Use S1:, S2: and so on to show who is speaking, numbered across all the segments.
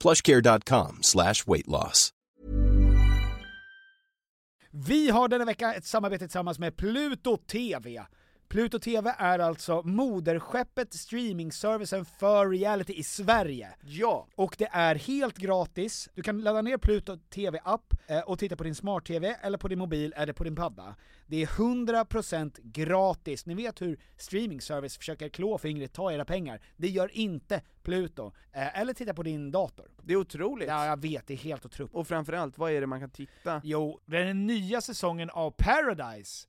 S1: plushcare.com slash weight loss.
S2: Vi har denna vecka ett samarbete tillsammans med Pluto TV. Pluto TV är alltså moderskeppet streamingservicen för reality i Sverige.
S3: Ja,
S2: Och det är helt gratis, du kan ladda ner Pluto TV-app eh, och titta på din smart-TV, eller på din mobil, eller på din padda. Det är 100% gratis, ni vet hur streamingservice försöker klå fingret, ta era pengar. Det gör inte Pluto. Eh, Eller titta på din dator.
S3: det är otroligt.
S2: Ja, jag vet, det är helt otroligt.
S3: Och framförallt, vad är det man kan titta?
S2: Jo, det är den nya säsongen av Paradise.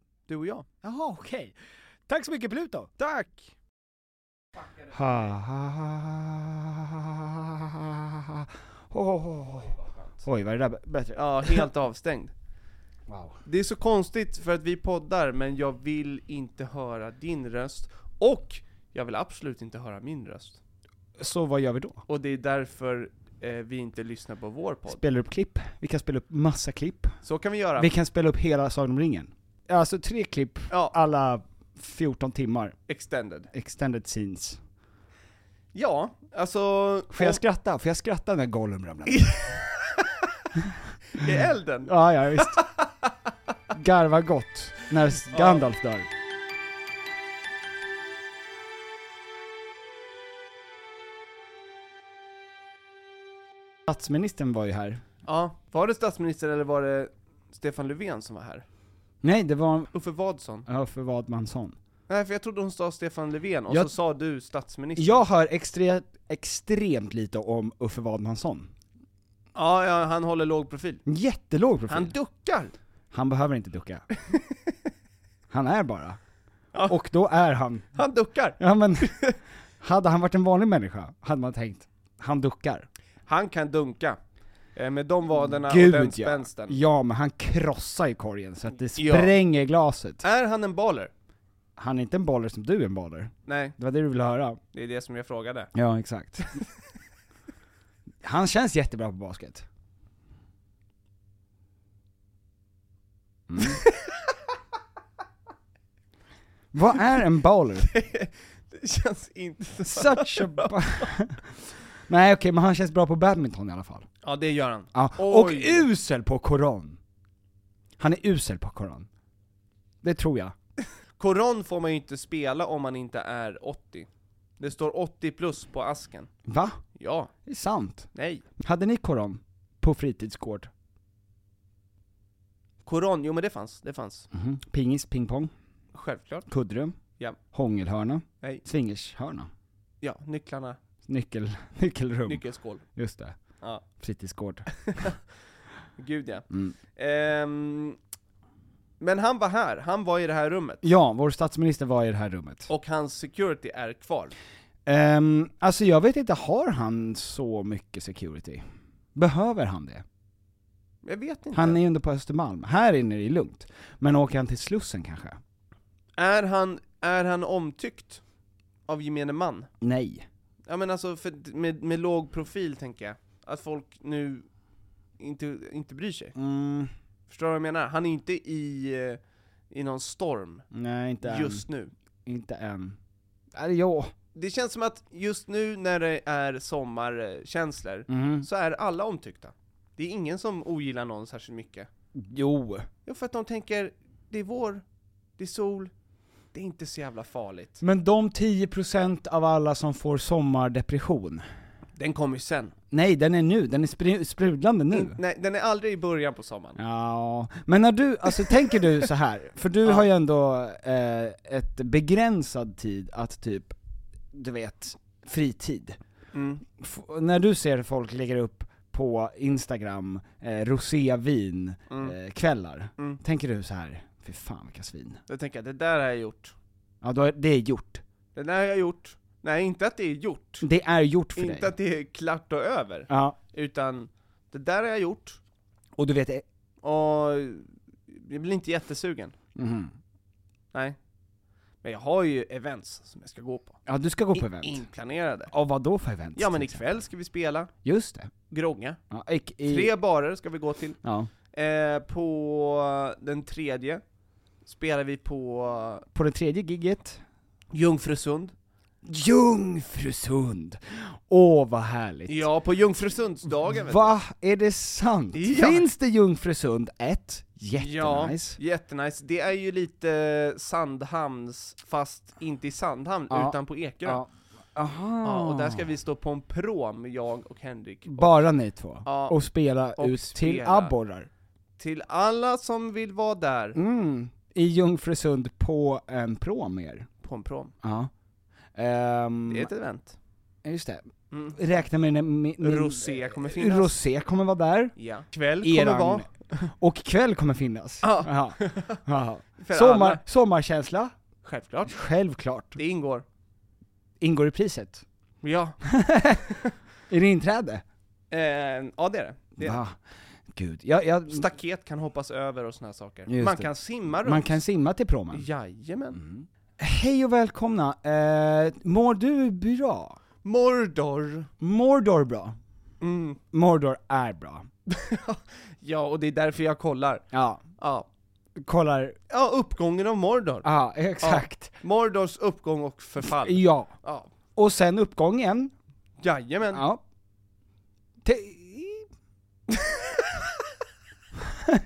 S3: Du och jag.
S2: Jaha, okej. Tack så mycket Pluto!
S3: Tack!
S2: Ha, ha, ha, ha, ha, ha. Oh. Oj, var det där b- bättre?
S3: Ja, helt avstängd.
S2: Wow.
S3: Det är så konstigt för att vi poddar, men jag vill inte höra din röst, och jag vill absolut inte höra min röst.
S2: Så vad gör vi då?
S3: Och det är därför eh, vi inte lyssnar på vår podd.
S2: Spelar upp klipp? Vi kan spela upp massa klipp.
S3: Så kan vi göra.
S2: Vi kan spela upp hela Sagan om ringen. Alltså tre klipp,
S3: Ja.
S2: alla 14 timmar,
S3: Extended.
S2: extended scenes.
S3: Ja, alltså...
S2: Får jag
S3: och-
S2: skratta? Får jag skratta när Gollum ramlar?
S3: I elden?
S2: Ja, ja visst. Garva gott när Gandalf dör. Statsministern var ju här.
S3: Ja. Var det statsminister eller var det Stefan Löfven som var här?
S2: Nej, det var
S3: Uffe Vadson?
S2: ja, för vad man sa.
S3: Nej, för jag trodde hon sa Stefan Löfven, och
S2: Jag-
S3: så sa du statsminister.
S2: Jag hör extre, extremt lite om Uffe Wadmansson.
S3: Ja, ja, han håller låg profil.
S2: Jättelåg profil.
S3: Han
S2: Han,
S3: duckar!
S2: behöver inte ducka. han är bara. Och då är han.
S3: Han duckar!
S2: Ja men, hade han varit en vanlig människa, hade man tänkt, han duckar.
S3: Han kan dunka. Eh, med de vaderna och den
S2: ja.
S3: spänsten.
S2: ja, men han krossar ju korgen så att det
S3: Ja.
S2: spränger glaset.
S3: Är han en baller?
S2: Han är inte en baller som du är en baller.
S3: Nej,
S2: Det var det du ville höra.
S3: det är det som jag frågade.
S2: Ja, exakt. han känns jättebra på basket. Mm. Vad är en baller?
S3: Det känns inte så.
S2: Such a... ba- Nej okej, men han känns bra på badminton i alla fall.
S3: Ja, det gör han.
S2: Ja,
S3: Oj.
S2: och usel på Koran. Han är usel på Koran. Det tror jag.
S3: Koran får man ju inte spela om man inte är 80. Det står 80 plus på asken.
S2: Va?
S3: Ja,
S2: Det är sant.
S3: nej.
S2: Hade ni Koran på fritidsgård?
S3: Koran, jo men det fanns, det fanns.
S2: Mhm. Pingis, pingpong,
S3: Självklart.
S2: kuddrum,
S3: Ja.
S2: hångelhörna,
S3: Nej.
S2: swingershörna,
S3: Ja, nycklarna,
S2: nyckel, nyckelrum,
S3: nyckelskål.
S2: just det.
S3: Ja.
S2: Fritidsgård.
S3: Gud ja. Ehm, men han var här, han var i det här rummet.
S4: Ja, vår statsminister var i det här rummet.
S3: Och hans security är kvar.
S4: Ehm, alltså jag vet inte, har han så mycket security? Behöver han det?
S3: Jag vet inte.
S4: Han är ju ändå på Östermalm, här inne är det lugnt. Men åker han till Slussen kanske?
S3: Är, han, är han omtyckt av gemene man?
S4: Nej.
S3: Ja men alltså, för, med, med låg profil tänker jag. Att folk nu inte, inte bryr sig.
S4: Mm,
S3: Förstår du vad jag menar? Han är inte i, eh, i någon storm
S4: nej, inte än.
S3: just nu. Äh,
S4: Inte än. Eller ja.
S3: Det känns som att just nu när det är sommarkänslor,
S4: Mm.
S3: så är alla omtyckta. Det är ingen som ogillar någon särskilt mycket.
S4: Jo.
S3: Jo, för att de tänker, det är vår, det är sol, det är inte så jävla farligt.
S4: Men de 10% av alla som får sommardepression,
S3: Den kommer ju sen.
S4: nej den är nu, den är spr- sprudlande nu.
S3: In, nej, den är aldrig i början på sommaren.
S4: Ja, men när du, alltså tänker du så här för du
S3: Ja.
S4: har ju ändå eh, ett begränsad tid att typ, du vet, fritid.
S3: Mm.
S4: F- när du ser folk lägga upp på Instagram eh, rosévin eh, kvällar,
S3: Mm.
S4: tänker du så här fy fan vilka svin.
S3: Då tänker jag, det där har jag gjort.
S4: Ja, då är, det är gjort.
S3: Det där har jag gjort. Nej, inte att det är gjort.
S4: Det är gjort för
S3: Inte
S4: dig.
S3: att det är klart och över.
S4: Ja,
S3: Utan, det där har jag gjort,
S4: och du vet, eh,
S3: och jag blir inte jättesugen.
S4: mhm.
S3: Nej. Men jag har ju events som jag ska gå på.
S4: ja du ska gå på event.
S3: Inplanerade.
S4: Ja, vad då för event?
S3: Ja men
S4: till exempel?
S3: ikväll ska vi spela,
S4: Just det.
S3: Grånga.
S4: Ja, ik- i,
S3: Tre barer ska vi gå till.
S4: ja.
S3: Eh, på den tredje spelar vi på
S4: På det tredje gigget
S3: Jungfrusund.
S4: Jungfrusund! Åh vad härligt!
S3: Ja, på Jungfrusundsdagen vet
S4: Va? Är det sant?
S3: Ja.
S4: Finns det Jungfrusund 1?
S3: du. Ja,
S4: Jättenice.
S3: jättenice. Det är ju lite Sandhamns, fast inte i Sandhamn,
S4: Ja.
S3: utan på Ekerö. Ja.
S4: Ja. Aha.
S3: och där ska vi stå på en prom, jag och Henrik.
S4: Bara ni två?
S3: Ja.
S4: Och spela
S3: Och
S4: ut till
S3: spela.
S4: abborrar?
S3: Till alla som vill vara där,
S4: Mm. I Jungfrusund på en prom er?
S3: på en prom.
S4: Ja. Ehm,
S3: Det är ett event.
S4: Just det.
S3: Mm.
S4: Räkna med... min- min
S3: Rosé kommer finnas.
S4: Rosé kommer vara där.
S3: Ja. Kväll kommer
S4: Eran-
S3: vara.
S4: Och kväll kommer finnas.
S3: Ja.
S4: Ja. Ja.
S3: För alla.
S4: Sommar, sommarkänsla?
S3: Självklart.
S4: Självklart.
S3: Det ingår.
S4: Ingår i priset?
S3: Ja.
S4: Är det inträde?
S3: Eh, ja det är det. det, är det.
S4: Va? Gud, jag, jag,
S3: Staket kan hoppas över och såna här saker.
S4: Just
S3: man
S4: det.
S3: kan simma runt.
S4: man kan simma Mm. till promen.
S3: Jajamän.
S4: Hej och välkomna, eh, mår du bra?
S3: Mordor.
S4: Mordor bra?
S3: Mm.
S4: Mordor är bra.
S3: Ja, och det är därför jag kollar.
S4: Ja,
S3: Ja.
S4: kollar,
S3: Ja, uppgången av Mordor.
S4: ja exakt.
S3: Mordors uppgång och
S4: Ah. Ja.
S3: förfall.
S4: Och sen uppgången,
S3: Jajamän.
S4: ja. Te-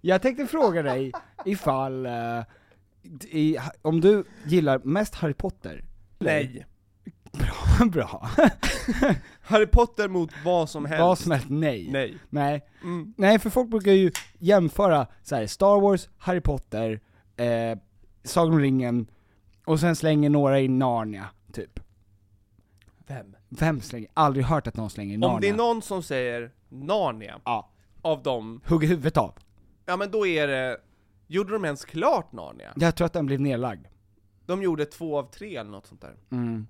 S4: jag tänkte fråga dig ifall, eh, i, om du gillar mest Harry Potter?
S3: Nej.
S4: bra.
S3: Harry Potter mot vad som helst.
S4: Vad som helst, nej.
S3: Nej.
S4: Nej.
S3: Mm.
S4: Nej, för folk brukar ju jämföra så här, Star Wars, Harry Potter, eh, Sagan om ringen, och sen slänger några in Narnia, typ.
S3: Vem?
S4: Vem slänger? Aldrig hört att någon slänger in Narnia.
S3: Om det är någon som säger Narnia,
S4: Ja,
S3: av dem,
S4: hugger huvudet av.
S3: ja men då är det... Gjorde de ens klart Narnia?
S4: Jag tror att den blev nedlagd.
S3: De gjorde två av tre eller något sånt där.
S4: Mm.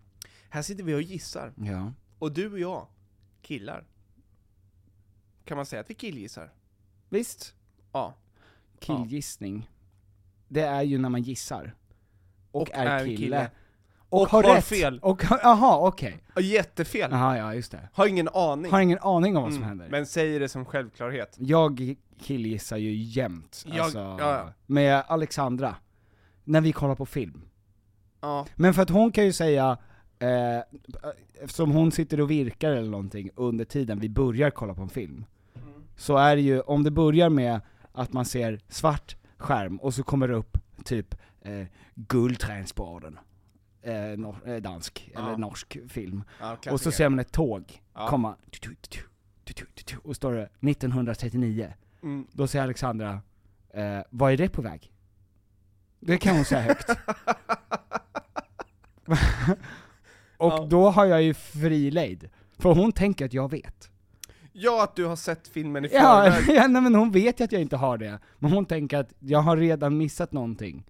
S3: Här sitter vi och gissar.
S4: Ja.
S3: Och du och jag, killar. Kan man säga att vi killgissar?
S4: Visst.
S3: Ja.
S4: Killgissning. Det är ju när man gissar. Och, är,
S3: är en
S4: kille.
S3: kille.
S4: Och,
S3: Och
S4: har,
S3: har
S4: rätt.
S3: fel.
S4: Och, har- aha, okej.
S3: Ja, Jättefel!
S4: Jaha, ja just det.
S3: Har ingen aning.
S4: Har ingen aning om vad som
S3: Mm,
S4: händer.
S3: Men säger det som självklarhet.
S4: Jag killgissar ju jämt,
S3: Jag-
S4: alltså,
S3: ja, ja.
S4: med Alexandra, när vi kollar på film.
S3: Ja.
S4: Men för att hon kan ju säga, eh, eftersom hon sitter och virkar eller någonting under tiden vi börjar kolla på en film, så är det ju, om det börjar med att man ser svart skärm och så kommer det upp typ eh, Guldtransporten, eh, nor- eh, dansk,
S3: Ja.
S4: eller norsk film,
S3: ja
S4: och så
S3: klassiker.
S4: ser man ett tåg
S3: Ja.
S4: komma, tu, tu, tu, tu, tu, tu, tu, och står det 1939.
S3: Mm.
S4: Då säger Alexandra, eh, vad är det på väg? Det kan hon säga högt. och
S3: Ja.
S4: då har jag ju fri lejd. För hon tänker att jag vet.
S3: Ja, att du har sett filmen i
S4: Ja,
S3: förväg.
S4: ja nej, men hon vet ju att jag inte har det. Men hon tänker att jag har redan missat någonting.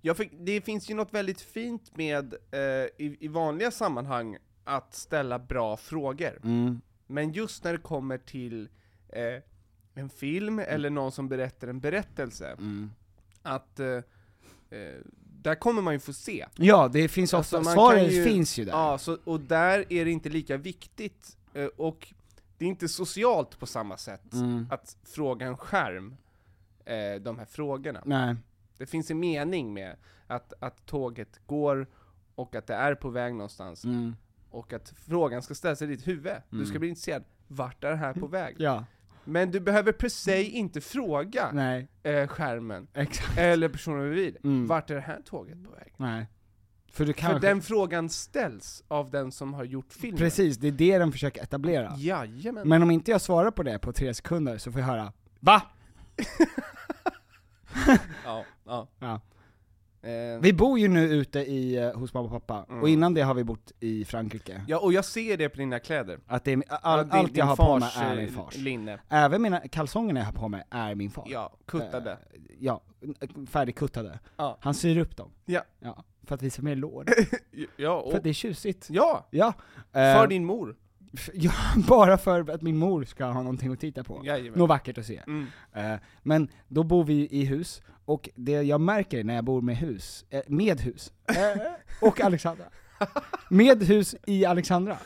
S3: Jag fick, det finns ju något väldigt fint med, eh, i, i vanliga sammanhang, att ställa bra frågor.
S4: Mm.
S3: Men just när det kommer till eh, en film,
S4: Mm.
S3: eller någon som berättar en berättelse, att eh, eh, där kommer man ju få se.
S4: Ja, det finns
S3: Alltså,
S4: ofta,
S3: man
S4: Alltså, svaren
S3: kan
S4: finns ju där.
S3: Ja, så, och där är det inte lika viktigt, eh, och det är inte socialt på samma sätt
S4: Mm.
S3: att fråga en skärm, eh, de här frågorna.
S4: Nej.
S3: Det finns en mening med att, att tåget går och att det är på väg någonstans.
S4: Mm.
S3: Och att frågan ska ställas i ditt huvud. Du ska bli intresserad. Vart är det här på väg?
S4: Mm. Ja,
S3: Men du behöver per se inte fråga
S4: nej,
S3: eh, skärmen
S4: exakt.
S3: eller personen bredvid. Vart är det här tåget på väg?
S4: Nej. För du
S3: För
S4: Mm. kanske...
S3: den frågan ställs av den som har gjort filmen.
S4: Precis, det är det de försöker etablera.
S3: Jajamän.
S4: Men om inte jag svarar på det på tre sekunder så får jag höra VA?
S3: Ja, ja.
S4: Ja.
S3: Eh,
S4: Vi bor ju nu ute i, eh, hos mamma och pappa,
S3: Mm.
S4: och innan det har vi bott i Frankrike.
S3: ja, och jag ser det på dina kläder.
S4: Att det är, all, allt
S3: Ja, din-
S4: jag
S3: din
S4: har på mig
S3: fars,
S4: är
S3: eh,
S4: min fars.
S3: Linne.
S4: Även mina kalsonger jag har på mig är min far.
S3: Ja, kuttade.
S4: Eh, ja, n- färdigkuttade.
S3: Ja.
S4: Han syr upp dem.
S3: Ja.
S4: Ja, för att visa mer lår.
S3: Eh, Ja, och,
S4: för att det är tjusigt.
S3: ja,
S4: Ja.
S3: Oh. för
S4: Eh,
S3: din mor.
S4: f- ja, bara för att min mor ska ha någonting att titta på.
S3: Jajamän. Mm.
S4: Något vackert att se. Eh, men då bor vi i hus, och det jag märker när jag bor med hus, eh, med hus, eh, och Alexandra. Med hus i Alexandra.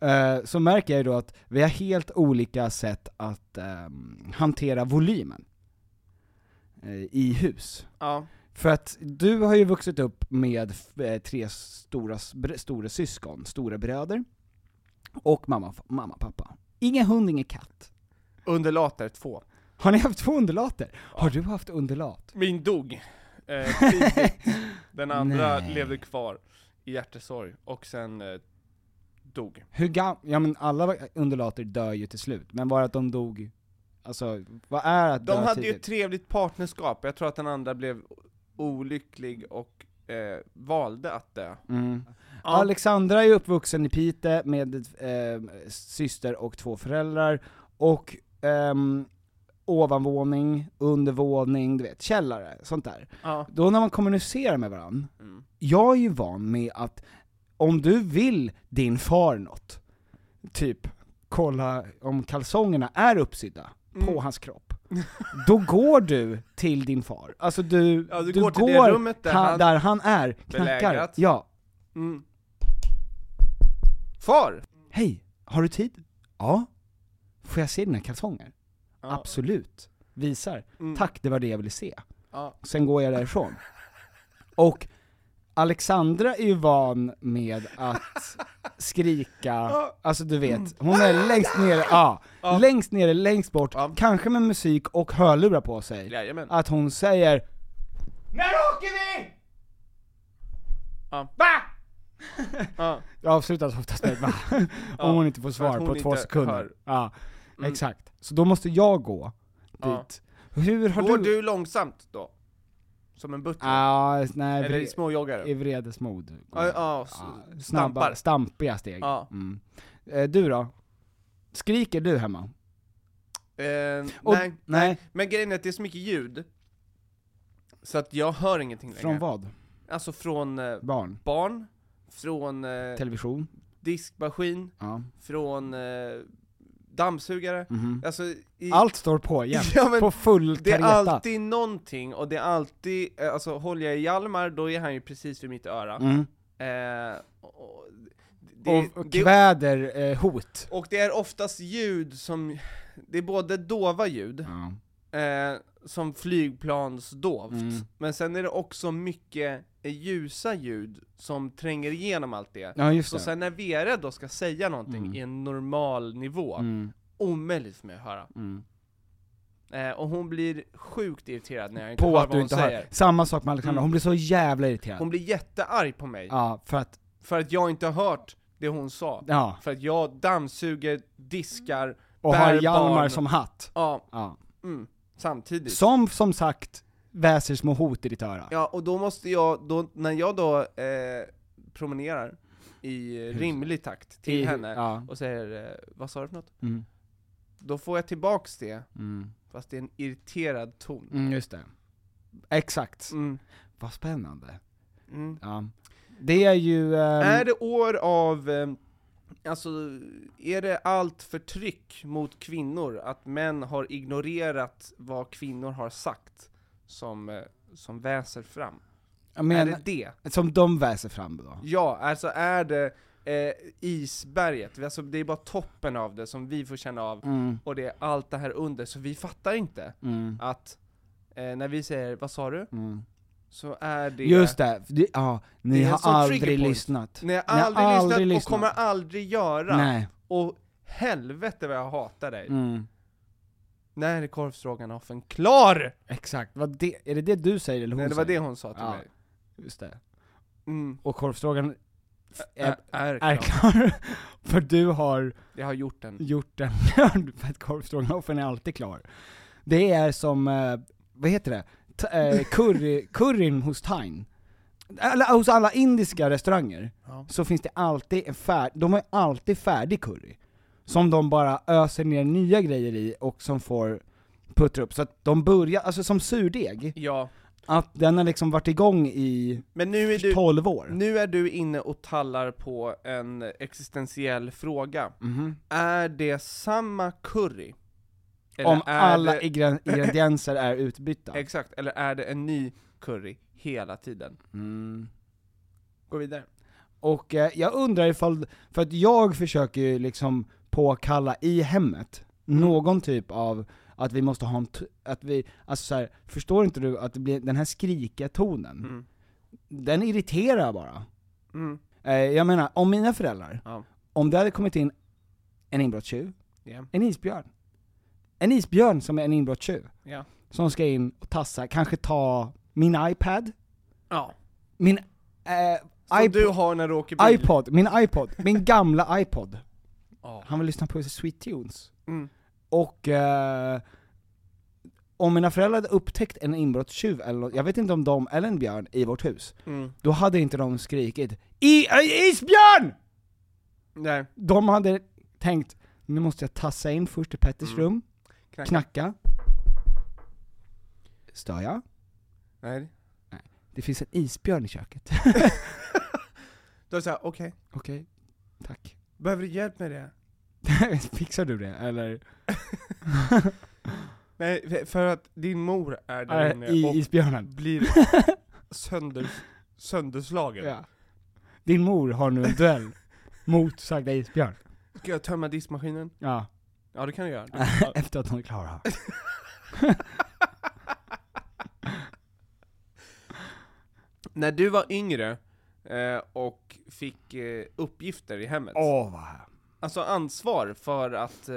S4: eh, så märker jag ju då att vi har helt olika sätt att ehm, hantera volymen eh, i hus.
S3: Ja.
S4: För att du har ju vuxit upp med eh, tre stora, br- stora syskon, stora bröder, och mamma, mamma pappa. Ingen hund, ingen katt.
S3: Underlater 2.
S4: Har ni haft två undulater? Har du haft undulat?
S3: Min dog. Eh, tidigt. Den andra
S4: Nej.
S3: levde kvar i hjärtesorg och sen eh, dog.
S4: Hur gam... Ja men alla undulater dör ju till slut, men bara att de dog... Alltså, vad är att
S3: De
S4: dö
S3: hade ju ett
S4: tidigt?
S3: trevligt partnerskap, jag tror att den andra blev olycklig och eh, valde att dö.
S4: Mm.
S3: Ja.
S4: Alexandra är uppvuxen i Pite med eh, syster och två föräldrar, och ehm, ovanvåning, undervåning, du vet, källare, sånt där.
S3: Ja.
S4: Då när man kommunicerar med varandra,
S3: Mm.
S4: jag är ju van med att om du vill din far något, typ kolla om kalsongerna är uppsydda
S3: Mm.
S4: på hans kropp, då går du till din far. Alltså du,
S3: Ja, du går till det rummet där
S4: han,
S3: han-
S4: där han är, knackar.
S3: Belägrat.
S4: Ja,
S3: Mm. Far!
S4: hej, har du tid? Ja. Får jag se dina kalsonger?
S3: Ja. Mm.
S4: Absolut. Visar. Tack, det var det jag ville se.
S3: Ja.
S4: Sen går jag därifrån. Och Alexandra är ju van med att skrika, alltså du vet, hon är längst nere, ja, längst nere, längst bort, kanske med musik och hörlurar på sig.
S3: Jajamän.
S4: Att hon säger
S3: När åker vi? Ja. Va? ja.
S4: Jag avslutas oftast med va? Om hon inte får
S3: för att
S4: svar på
S3: hon
S4: två
S3: inte
S4: sekunder.
S3: hör. Mm.
S4: Ja, exakt. Så då måste jag gå
S3: Ja.
S4: dit. Hur har
S3: Går
S4: du...
S3: du långsamt då? Som en butler?
S4: Ah, nej,
S3: Eller
S4: vre...
S3: i småjoggare?
S4: i vredesmod.
S3: Ja, ja, s-
S4: snabba,
S3: stampar.
S4: stampiga steg.
S3: Ja.
S4: Mm. Eh, du då? Skriker du hemma?
S3: Eh,
S4: Och-
S3: nej,
S4: nej.
S3: nej, men grejen är att det är så mycket ljud Så att jag hör ingenting
S4: Från
S3: längre
S4: vad?
S3: Alltså från eh,
S4: Barn?
S3: barn, från eh,
S4: Television?
S3: diskmaskin,
S4: Ja.
S3: från eh, dammsugare
S4: Mhm.
S3: Alltså i,
S4: Allt står på igen.
S3: Ja, men
S4: på full
S3: Det är
S4: kareta.
S3: alltid någonting, och det är alltid, eh, alltså håller jag i Hjalmar då är han ju precis vid mitt öra
S4: Mm.
S3: eh, och, och det,
S4: Och, och kväder eh, hot.
S3: det, och det är oftast ljud som, det är både dova ljud
S4: Ja.
S3: eh, som flygplansdovt,
S4: Mm.
S3: men sen är det också mycket eh, ljusa ljud som tränger igenom allt det.
S4: ja, just
S3: Så
S4: det.
S3: sen när Vera då ska säga någonting i en normal nivå,
S4: Mm.
S3: omöjligt för mig att höra.
S4: Mm.
S3: Eh, och hon blir sjukt irriterad när jag inte
S4: På
S3: hör
S4: att
S3: vad
S4: du
S3: hon
S4: inte
S3: säger. Mm.
S4: hör. Samma sak med Alexandra, hon blir så jävla irriterad.
S3: Hon blir jättearg på mig,
S4: Ja, för att,
S3: för att jag inte har hört det hon sa.
S4: ja.
S3: För att jag dammsuger, diskar,
S4: Och
S3: bär
S4: har Hjalmar
S3: barn.
S4: som hatt.
S3: Ja,
S4: Ja.
S3: mm, samtidigt.
S4: Som, som sagt, väser små hot i ditt öra.
S3: Ja, och då måste jag, då, när jag då eh, promenerar i rimlig takt till
S4: I-
S3: henne
S4: ja.
S3: och säger eh, vad sa du för något?
S4: Mm.
S3: då får jag tillbaks det,
S4: Mm.
S3: fast det är en irriterad ton.
S4: Mm, just det. Exakt.
S3: Mm.
S4: Vad spännande.
S3: Mm.
S4: Ja. Det är ju... ehm,
S3: Är det år av, eh, alltså, är det allt förtryck mot kvinnor, att män har ignorerat vad kvinnor har sagt, som, eh, som väser fram?
S4: jag menar-
S3: är det det?
S4: Som de väser fram då?
S3: Ja, alltså är det eh, isberget, alltså, det är bara toppen av det som vi får känna av,
S4: Mm,
S3: och det är allt det här under, så vi fattar inte
S4: mm,
S3: att eh, när vi säger 'Vad sa du?'
S4: mm.
S3: så är det...
S4: Just det, det ja, ni
S3: Det är en
S4: har
S3: sån trigger
S4: aldrig
S3: point.
S4: lyssnat.
S3: Ni har
S4: Ni har
S3: aldrig,
S4: aldrig
S3: lyssnat,
S4: lyssnat.
S3: och kommer aldrig göra.
S4: Nej.
S3: Och helvete vad jag hatar dig.
S4: Mm.
S3: När är korvstroganoffen klar?
S4: Exakt, vad det, är det det du säger eller hon
S3: Nej det var det
S4: säger?
S3: hon sa till
S4: Ja.
S3: mig.
S4: Just det.
S3: Mm.
S4: Och korvstrågan
S3: Ä-
S4: är,
S3: är
S4: är
S3: klar.
S4: klar, för du har
S3: Jag har gjort den.
S4: gjort den klar, för att korvstroganoffen är alltid klar. Det är som, eh, vad heter det? T- eh, curry, curryn hos Thine. Eller hos alla indiska restauranger,
S3: Ja.
S4: så finns det alltid en färdig, de har ju alltid färdig curry. Som de bara öser ner nya grejer i och som får puttra upp. Så att de börjar, alltså som surdeg,
S3: ja.
S4: att den har liksom varit igång i
S3: Men nu är, du,
S4: 12 år.
S3: nu är du inne och tallar på en existentiell fråga.
S4: Mhm.
S3: Är det samma curry? Eller
S4: Om
S3: är
S4: alla
S3: det,
S4: ingre- ingredienser är utbytta.
S3: Exakt, eller är det en ny curry hela tiden?
S4: Mm.
S3: Gå vidare.
S4: Och eh, jag undrar ifall, för att jag försöker ju liksom påkalla i hemmet,
S3: Mm.
S4: någon typ av att vi måste ha en, t- att vi, alltså så här, förstår inte du att det blir den här skrikiga tonen,
S3: Mm.
S4: den irriterar bara.
S3: Mm.
S4: Eh, jag menar, om mina föräldrar,
S3: Ja.
S4: om det hade kommit in en inbrottstjuv,
S3: Ja.
S4: en isbjörn, en isbjörn som är en inbrottstjuv,
S3: Ja.
S4: som ska in och tassa, kanske ta min iPad,
S3: ja.
S4: min eh,
S3: Som
S4: iPod-
S3: du har när du åker bil.
S4: iPod, min iPod, min gamla iPod.
S3: Ja.
S4: Han vill lyssna på Sweet Tunes.
S3: Mm.
S4: Och eh, om mina föräldrar hade upptäckt en inbrottstjuv, eller nå- jag vet inte om de eller en björn, i vårt hus,
S3: Mm.
S4: då hade inte de skrikit I, äh, isbjörn!
S3: Nej,
S4: De hade tänkt, nu måste jag tassa in först i Petters
S3: Mm.
S4: rum,
S3: knacka.
S4: knacka. Stör jag?
S3: Nej.
S4: Det finns en isbjörn i köket.
S3: Då är det såhär, okej,
S4: Okej, tack.
S3: behöver du hjälp med det?
S4: Fixar du det, eller?
S3: Nej, för- för att din mor är där
S4: Äh,
S3: inne
S4: I
S3: och
S4: isbjörnen?
S3: blir sönder, sönderslagen.
S4: Ja. Din mor har nu en duell mot sagda isbjörn.
S3: Ska jag tömma diskmaskinen?
S4: Ja,
S3: Ja det kan du göra. Du-
S4: efter att hon är klar. ja.
S3: När du var yngre eh, och fick eh, uppgifter i hemmet,
S4: Åh vad här.
S3: alltså ansvar för att eh,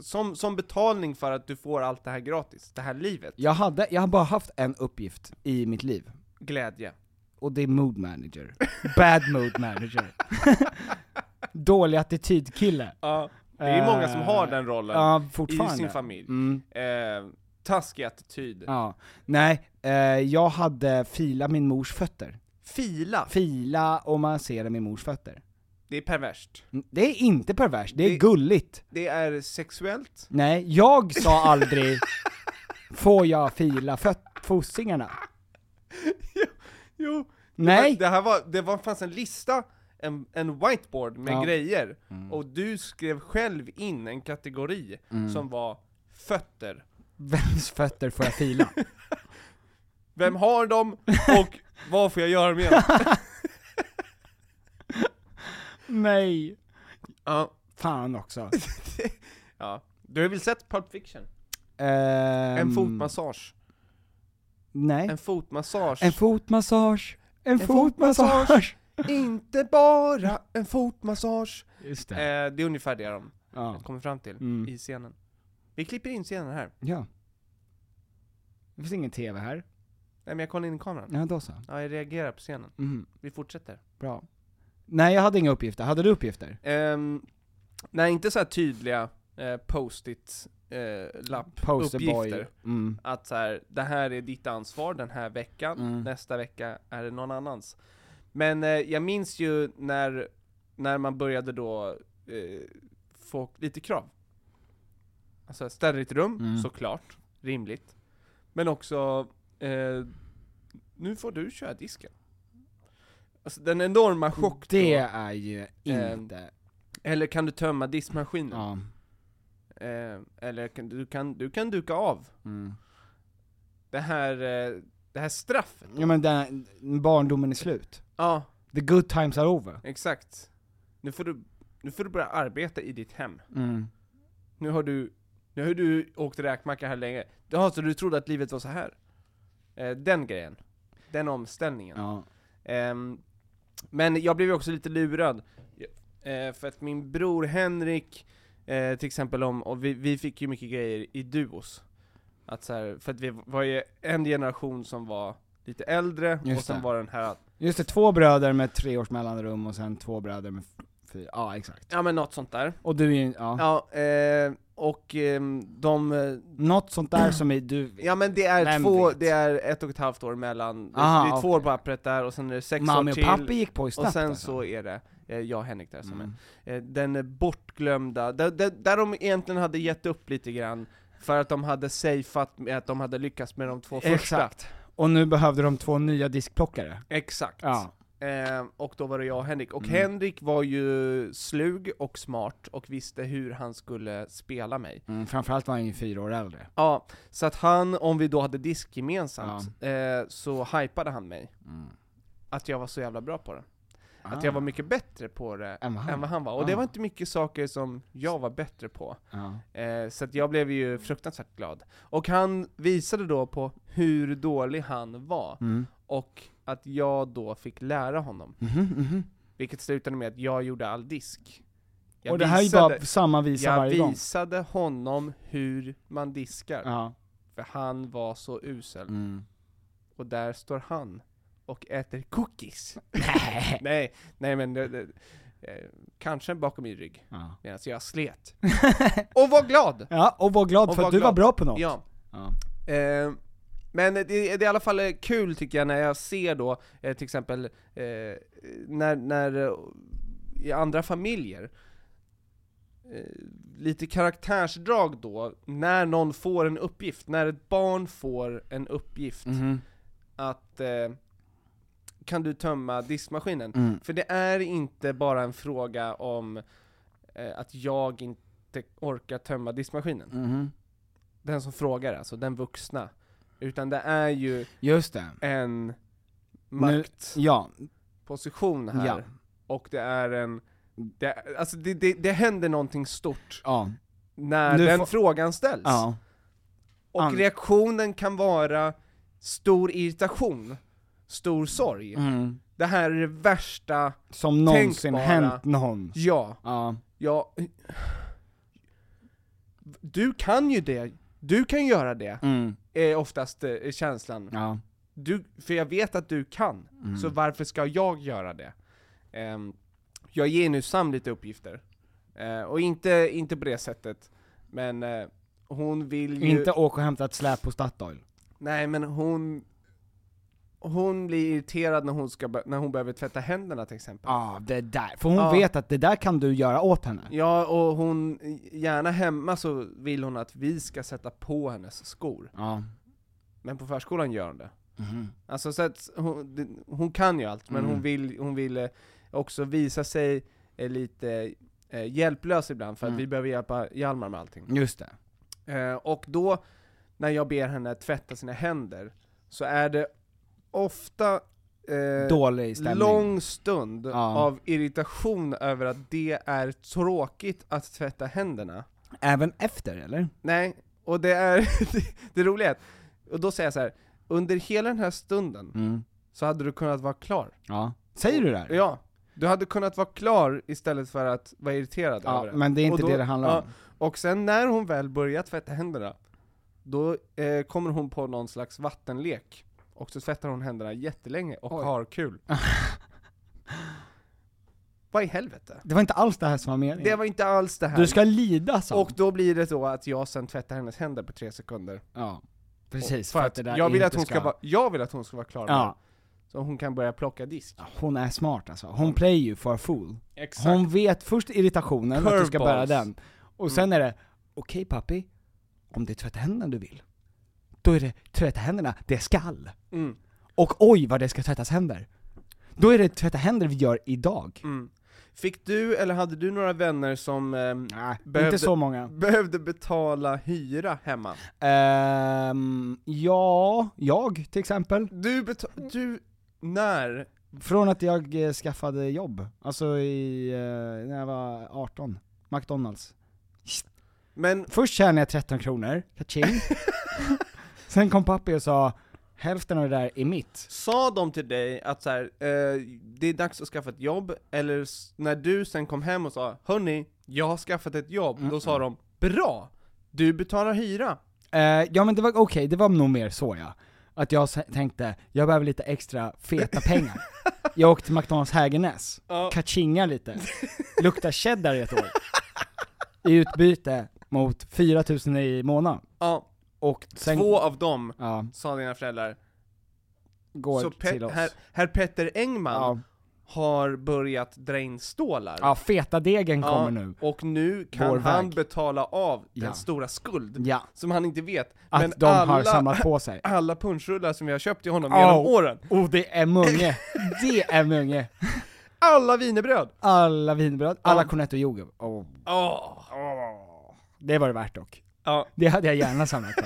S3: som, som betalning för att du får allt det här gratis, det här livet.
S4: Jag hade, jag har bara haft en uppgift i mitt liv.
S3: Glädje.
S4: Och det är mood manager. Bad mood manager. Dålig attitydkille.
S3: Ja, det är ju många som har den rollen
S4: Eh, Ja,
S3: i
S4: fortfarande.
S3: sin familj.
S4: Mm,
S3: Eh, taskig attityd.
S4: ja. Nej, eh, jag hade fila min mors fötter.
S3: Fila,
S4: Fila och massera min mors fötter.
S3: det är perverst.
S4: Mm, Det är inte perverst, det är
S3: Det-
S4: gulligt.
S3: Det är sexuellt.
S4: Nej, jag sa aldrig Får jag fila föt- fossingarna?
S3: Jo,
S4: Nej!
S3: Det här var, det var, fanns en lista, en, en whiteboard med
S4: Ja.
S3: grejer, och du skrev själv in en kategori som var fötter.
S4: Vems fötter får jag fila?
S3: Vem har dem, och vad får jag göra med dem?
S4: Nej!
S3: Ja.
S4: Fan också.
S3: ja. Du har väl sett Pulp Fiction?
S4: Ehm,
S3: En fotmassage.
S4: Nej.
S3: En fotmassage.
S4: En fotmassage. En,
S3: En
S4: fotmassage!
S3: Inte bara en fotmassage.
S4: Just
S3: Eh, det är ungefär det de
S4: Ja.
S3: kommer fram till
S4: Mm.
S3: i scenen. Vi klipper in scenen här.
S4: ja. Det finns ingen TV här.
S3: Nej men jag kollar in i kameran.
S4: Ja, då så.
S3: Ja, jag reagerar på scenen.
S4: Mm,
S3: Vi fortsätter.
S4: bra. Nej, jag hade inga uppgifter. Hade du uppgifter?
S3: Ehm, nej, inte så här tydliga eh, post-it eh, lapp
S4: Posterboy.
S3: Uppgifter.
S4: Mm.
S3: att så här, det här är ditt ansvar den här veckan,
S4: Mm.
S3: nästa vecka är det någon annans. Men eh, jag minns ju när, när man började då eh, få lite krav. Alltså städa ditt rum,
S4: Mm.
S3: såklart. Rimligt. Men också, eh, nu får du köra disken. Alltså den enorma chock då. Eh,
S4: Det är ju inte...
S3: Eller kan du tömma diskmaskinen?
S4: Ja.
S3: Eh, eller kan, du, kan, du kan duka av.
S4: Mm.
S3: Det här, eh, det här straffet. då.
S4: ja men den, barndomen är slut.
S3: ja
S4: The good times are over.
S3: exakt. Nu får, du, nu får du börja arbeta i ditt hem.
S4: Mm.
S3: Nu har du, nu har du åkt räkmacka här länge. Jaha, så du trodde att livet var så här? Eh, den grejen. Den omställningen.
S4: Ja.
S3: Ehm, men jag blev ju också lite lurad. Eh, för att min bror Henrik, eh, till exempel om, och vi, vi fick ju mycket grejer i duos. Att så här, för att vi var ju en generation som var lite äldre,
S4: Just
S3: och sen
S4: det.
S3: var den här,
S4: Just det, två bröder med tre års mellanrum och sen två bröder med f- fyra, ja exakt.
S3: ja men något sånt där.
S4: Och du är ju, ja.
S3: Ja, eh, och ehm, de, eh,
S4: Något sånt där som är du,
S3: ja men det är
S4: Vem
S3: två,
S4: vet?
S3: det är ett och ett halvt år mellan, det,
S4: Aha,
S3: det är två
S4: okej.
S3: år på pappret där, och sen är det sex
S4: mamma
S3: år
S4: och
S3: till.
S4: pappa gick på i snabbt
S3: Och sen
S4: alltså.
S3: så är det, eh, jag och Henrik där som är
S4: Mm.
S3: Eh, den är bortglömda, där, där, där de egentligen hade gett upp lite grann, för att de hade safeat med att de hade lyckats med de två första.
S4: Exakt. Och nu behövde de två nya diskplockare.
S3: Exakt.
S4: Ja.
S3: Eh, och då var det jag och Henrik, och
S4: Mm.
S3: Henrik var ju slug och smart och visste hur han skulle spela mig.
S4: Mm, framförallt var han ju fyra år äldre.
S3: Ja, så att han, om vi då hade disk gemensamt, eh, så hypade han mig.
S4: Mm.
S3: Att jag var så jävla bra på det. Att jag var mycket bättre på det
S4: Ah. Än vad han
S3: än vad
S4: var.
S3: han var. Och det
S4: Ah.
S3: var inte mycket saker som jag var bättre på.
S4: Ja.
S3: Eh, så att jag blev ju fruktansvärt glad. Och han visade då på hur dålig han var,
S4: Mm.
S3: och att jag då fick lära honom.
S4: Mhm, mhm.
S3: Vilket slutade med att jag gjorde all disk. Jag
S4: Och det här är ju bara samma visa
S3: jag
S4: varje gång.
S3: visade honom hur man diskar,
S4: Ja.
S3: för han var så usel.
S4: Mm.
S3: Och där står han och äter cookies. nej, nej men det, det, eh, kanske bakom min rygg,
S4: Ja.
S3: medan jag slet. och var glad!
S4: ja, och var glad
S3: Och
S4: för
S3: var
S4: att du
S3: glad.
S4: var bra på något.
S3: Ja.
S4: Ja.
S3: Eh, men det, det är i alla fall eh, kul tycker jag när jag ser då, eh, till exempel, eh, när, när eh, i andra familjer, eh, lite karaktärsdrag då, när någon får en uppgift, när ett barn får en uppgift
S4: Mhm.
S3: att eh, kan du tömma diskmaskinen?
S4: Mm.
S3: För det är inte bara en fråga om eh, att jag inte orkar tömma diskmaskinen
S4: Mhm.
S3: den som frågar alltså, den vuxna. Utan det är ju
S4: Just det.
S3: en maktposition
S4: Ja,
S3: här.
S4: Ja.
S3: Och det är en, det, alltså det, det, det händer någonting stort
S4: ja,
S3: när
S4: Nu
S3: den
S4: får-
S3: frågan ställs.
S4: ja.
S3: Och
S4: An-
S3: reaktionen kan vara stor irritation, stor sorg.
S4: Mm.
S3: Det här är det värsta,
S4: Som någonsin
S3: Tänkbara.
S4: hänt någon.
S3: ja,
S4: Ja.
S3: ja. Du kan ju det, du kan göra det,
S4: Mm.
S3: är oftast eh, känslan.
S4: Ja. Mm.
S3: du, för jag vet att du kan, så varför ska jag göra det? Ehm, jag ger nu Sam lite uppgifter, Eh, och inte, inte på det sättet, men eh, hon vill ju...
S4: Inte åka och hämta ett släp på Statoil.
S3: Nej men hon... Hon blir irriterad när hon, ska, be- när hon behöver tvätta händerna till exempel.
S4: Ja, det där. För hon
S3: Ja.
S4: vet att det där kan du göra åt henne.
S3: Ja, och hon, gärna hemma så vill hon att vi ska sätta på hennes skor.
S4: Ja. Mm-hmm.
S3: Men på förskolan gör hon det. Alltså så att hon, det- hon kan ju allt, men
S4: Mm.
S3: hon vill, hon vill eh, också visa sig eh, lite eh, hjälplös ibland, för att
S4: Mm.
S3: vi behöver hjälpa Hjalmar med allting.
S4: Just det.
S3: Eh, och då, när jag ber henne tvätta sina händer, så är det ofta eh,
S4: Dålig stämning.
S3: lång stund
S4: Ja.
S3: av irritation över att det är tråkigt att tvätta händerna.
S4: Även efter, eller?
S3: Nej, och det är, det, det roliga är att, och då säger jag så här, under hela den här stunden
S4: Mm.
S3: så hade du kunnat vara klar.
S4: Ja. Säger du det? här?
S3: Ja, du hade kunnat vara klar istället för att vara irriterad
S4: Ja,
S3: över det.
S4: men det är inte
S3: Och då-
S4: det det handlar
S3: ja,
S4: om.
S3: Och sen när hon väl börjar tvätta händerna, då eh, kommer hon på någon slags vattenlek. Och så tvättar hon händerna jättelänge och
S4: Oj.
S3: har kul. Vad i helvete?
S4: Det var inte alls det här som var meningen.
S3: Det var inte alls det här.
S4: Du ska lida så.
S3: och då blir det så att jag sen tvättar hennes händer på tre sekunder.
S4: Ja. Precis,
S3: För att
S4: det där
S3: jag vill
S4: inte
S3: att hon ska, vara, jag vill att hon ska vara klar med
S4: Ja.
S3: det. Så hon kan börja plocka disk.
S4: Hon är smart alltså. Hon play you for a fool.
S3: Exakt.
S4: Hon vet först irritationen, att du ska bära
S3: Curveballs. Mm.
S4: den. Och sen är det, okej pappi, om det är tvätta händerna du vill, då är det tvätta händerna det skall.
S3: Mm.
S4: Och oj vad det ska tvättas händer. Då är det tvätta händer vi gör idag.
S3: Mm. Fick du, eller hade du några vänner som ehm,
S4: Nej,
S3: behövde-
S4: inte så många.
S3: behövde betala hyra hemma?
S4: Ehm, ja, jag till exempel.
S3: Du betal... Du... När?
S4: Från att jag eh, skaffade jobb, alltså i, eh, när jag var 18, McDonalds.
S3: Men,
S4: Först tjänade jag 13 kronor, kaching. Sen kom pappi och sa, hälften av det där är mitt.
S3: sa de till dig att så här, eh, det är dags att skaffa ett jobb, eller s- när du sen kom hem och sa 'Hörni, jag har skaffat ett jobb' då sa de 'Bra! Du betalar hyra'
S4: Eh, ja men det var okej, det var nog mer så ja. Att jag s- tänkte, jag behöver lite extra feta pengar. Jag åkte till McDonalds Hägernäs,
S3: Ja.
S4: kachinga lite, lukta cheddar i ett år. I utbyte mot 4000 i månaden.
S3: Ja,
S4: Och sen...
S3: två av dem,
S4: Ja,
S3: sa dina föräldrar.
S4: går
S3: Så
S4: till
S3: Pe-
S4: oss.
S3: herr, herr Petter Engman
S4: ja.
S3: har börjat dra in stålar.
S4: ja, feta degen
S3: Ja,
S4: kommer nu.
S3: Och nu kan
S4: Vår
S3: han
S4: väg.
S3: betala av
S4: Ja.
S3: den stora skuld,
S4: Ja.
S3: som han inte vet.
S4: Att
S3: men
S4: de
S3: alla,
S4: har samlat på sig.
S3: alla punchrullar som vi har köpt till honom
S4: Oh.
S3: genom åren,
S4: Oh, det är munge! Det är munge!
S3: alla wienerbröd!
S4: Alla vinbröd, alla
S3: Ja.
S4: cornetto och jordgubb. Oh.
S3: Åh.
S4: Det var det värt dock.
S3: Ja,
S4: Det hade jag gärna samlat på.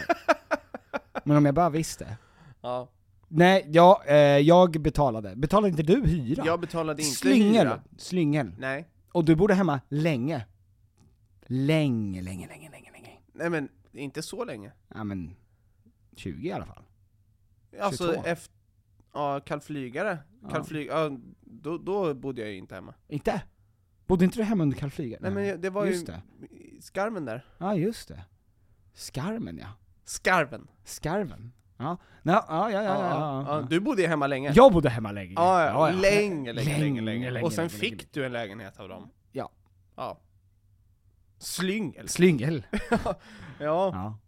S4: Men om jag bara visste.
S3: ja.
S4: Nej, ja, eh, jag betalade. Betalade inte du hyra?
S3: Jag betalade inte
S4: Slyngel.
S3: hyra.
S4: Slyngel.
S3: Nej.
S4: Och du bodde hemma länge. Länge, länge, länge, länge, länge.
S3: Nej men, inte så länge.
S4: Ja men, 20 i alla fall.
S3: Alltså
S4: 22.
S3: efter, ja, kallflygare.
S4: Ja.
S3: Kallflyg, ja, då, då bodde jag ju inte hemma.
S4: Inte? Bodde inte du hemma under kallflyget?
S3: Nej men jag- det var
S4: just
S3: ju
S4: det.
S3: skarven där.
S4: Ja, just det. Skarven ja.
S3: Skarven.
S4: Skarven. Ja, Nå, ja, ja, ja, ja, ja, ja.
S3: Du bodde ju hemma länge.
S4: Jag bodde hemma länge.
S3: Ja, ja, Länge, länge, länge, länge, Och sen
S4: länge,
S3: fick
S4: länge.
S3: du en lägenhet av dem.
S4: Ja.
S3: Ja. Slyngel.
S4: Slyngel.
S3: Ja.
S4: Ja.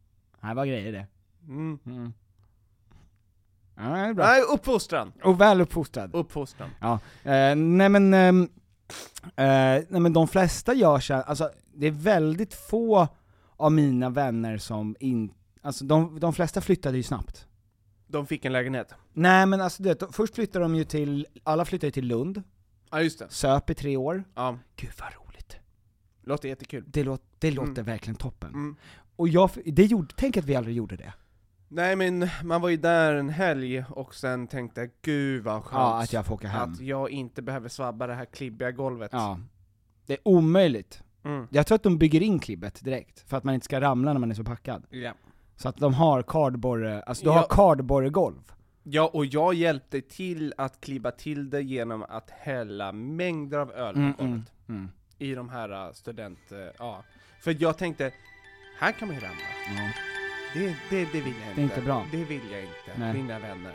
S4: Det var grejer det.
S3: Mm.
S4: Mm. Ja, det är bra.
S3: Nej, uppfostran.
S4: Och väl uppfostrad.
S3: Uppfostran.
S4: Ja. Eh, nej men, ehm, eh, nej men de flesta gör så här, alltså det är väldigt få av mina vänner som inte, alltså de, de flesta flyttade ju snabbt.
S3: De fick en lägenhet.
S4: Nej men alltså du vet, först flyttar de ju till, alla flyttar ju till Lund,
S3: Ja, just det.
S4: söp i tre år.
S3: Ja.
S4: Gud vad roligt.
S3: Låter jättekul.
S4: Det, lå- det låter
S3: Mm.
S4: verkligen toppen.
S3: Mm.
S4: Och jag, det gjorde, tänk att vi aldrig gjorde det.
S3: Nej men, man var ju där en helg och sen tänkte jag, gud vad skönt.
S4: Ja, att jag får åka hem.
S3: att jag inte behöver svabba det här klibbiga golvet.
S4: Ja. Det är omöjligt.
S3: Mm.
S4: Jag tror att de bygger in klibbet direkt, för att man inte ska ramla när man är så packad.
S3: Ja.
S4: Så att de har cardboard, alltså du
S3: Ja.
S4: har cardboardgolv.
S3: ja, och jag hjälpte till att klibba till det genom att hälla mängder av öl på
S4: Mm,
S3: golvet.
S4: mm, mm.
S3: i de här äh, student... äh, Ja. För jag tänkte, här kan man ju ramla.
S4: Ja.
S3: Det, det, det vill jag inte.
S4: är inte bra.
S3: Det vill jag inte,
S4: Nej.
S3: mina vänner.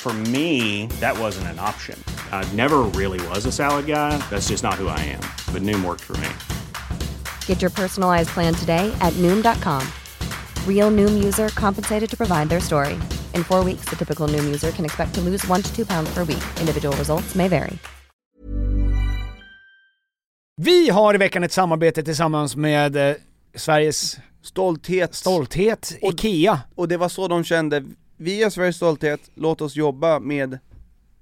S5: For me, that wasn't an option. I never really was a salad guy. That's just not who I am. But Noom worked for me.
S6: Get your personalized plan today at Noom.com. Real Noom user compensated to provide their story. In four weeks, the typical Noom user can expect to lose one to two pounds per week. Individual results may vary.
S4: Vi har i veckan ett samarbete tillsammans med eh, Sveriges
S3: Stolthet.
S4: stolthet,
S3: Och-
S4: IKEA.
S3: Och det var så de kände, vi är Sveriges stolthet, låt oss jobba med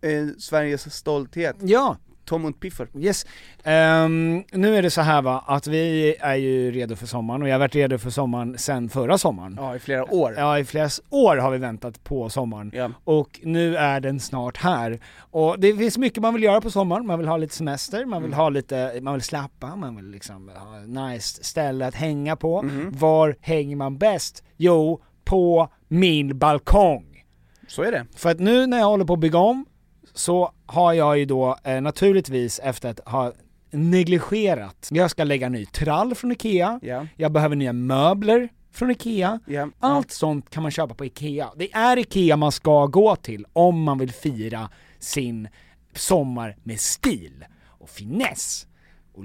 S3: eh, Sveriges stolthet.
S4: Ja,
S3: Tom und Piffer.
S2: Yes. Ehm, nu är det så här va, att vi är ju redo för sommaren och jag har varit redo för sommaren sen förra sommaren.
S3: Ja, i flera år.
S2: Ja, i flera s- år har vi väntat på sommaren. Och nu är den snart här. Och det finns mycket man vill göra på sommaren, man vill ha lite semester, man vill
S3: Mm.
S2: ha lite, man vill slappa, man vill liksom ha ett nice ställe att hänga på.
S3: Mm-hmm.
S2: Var hänger man bäst? Jo, på min balkong.
S3: Så är det.
S2: För att nu när jag håller på att bygga om så har jag ju då eh, naturligtvis efter att ha negligerat, jag ska lägga ny trall från IKEA,
S3: Ja.
S2: jag behöver nya möbler från IKEA. Allt sånt kan man köpa på IKEA. Det är IKEA man ska gå till om man vill fira sin sommar med stil och finess och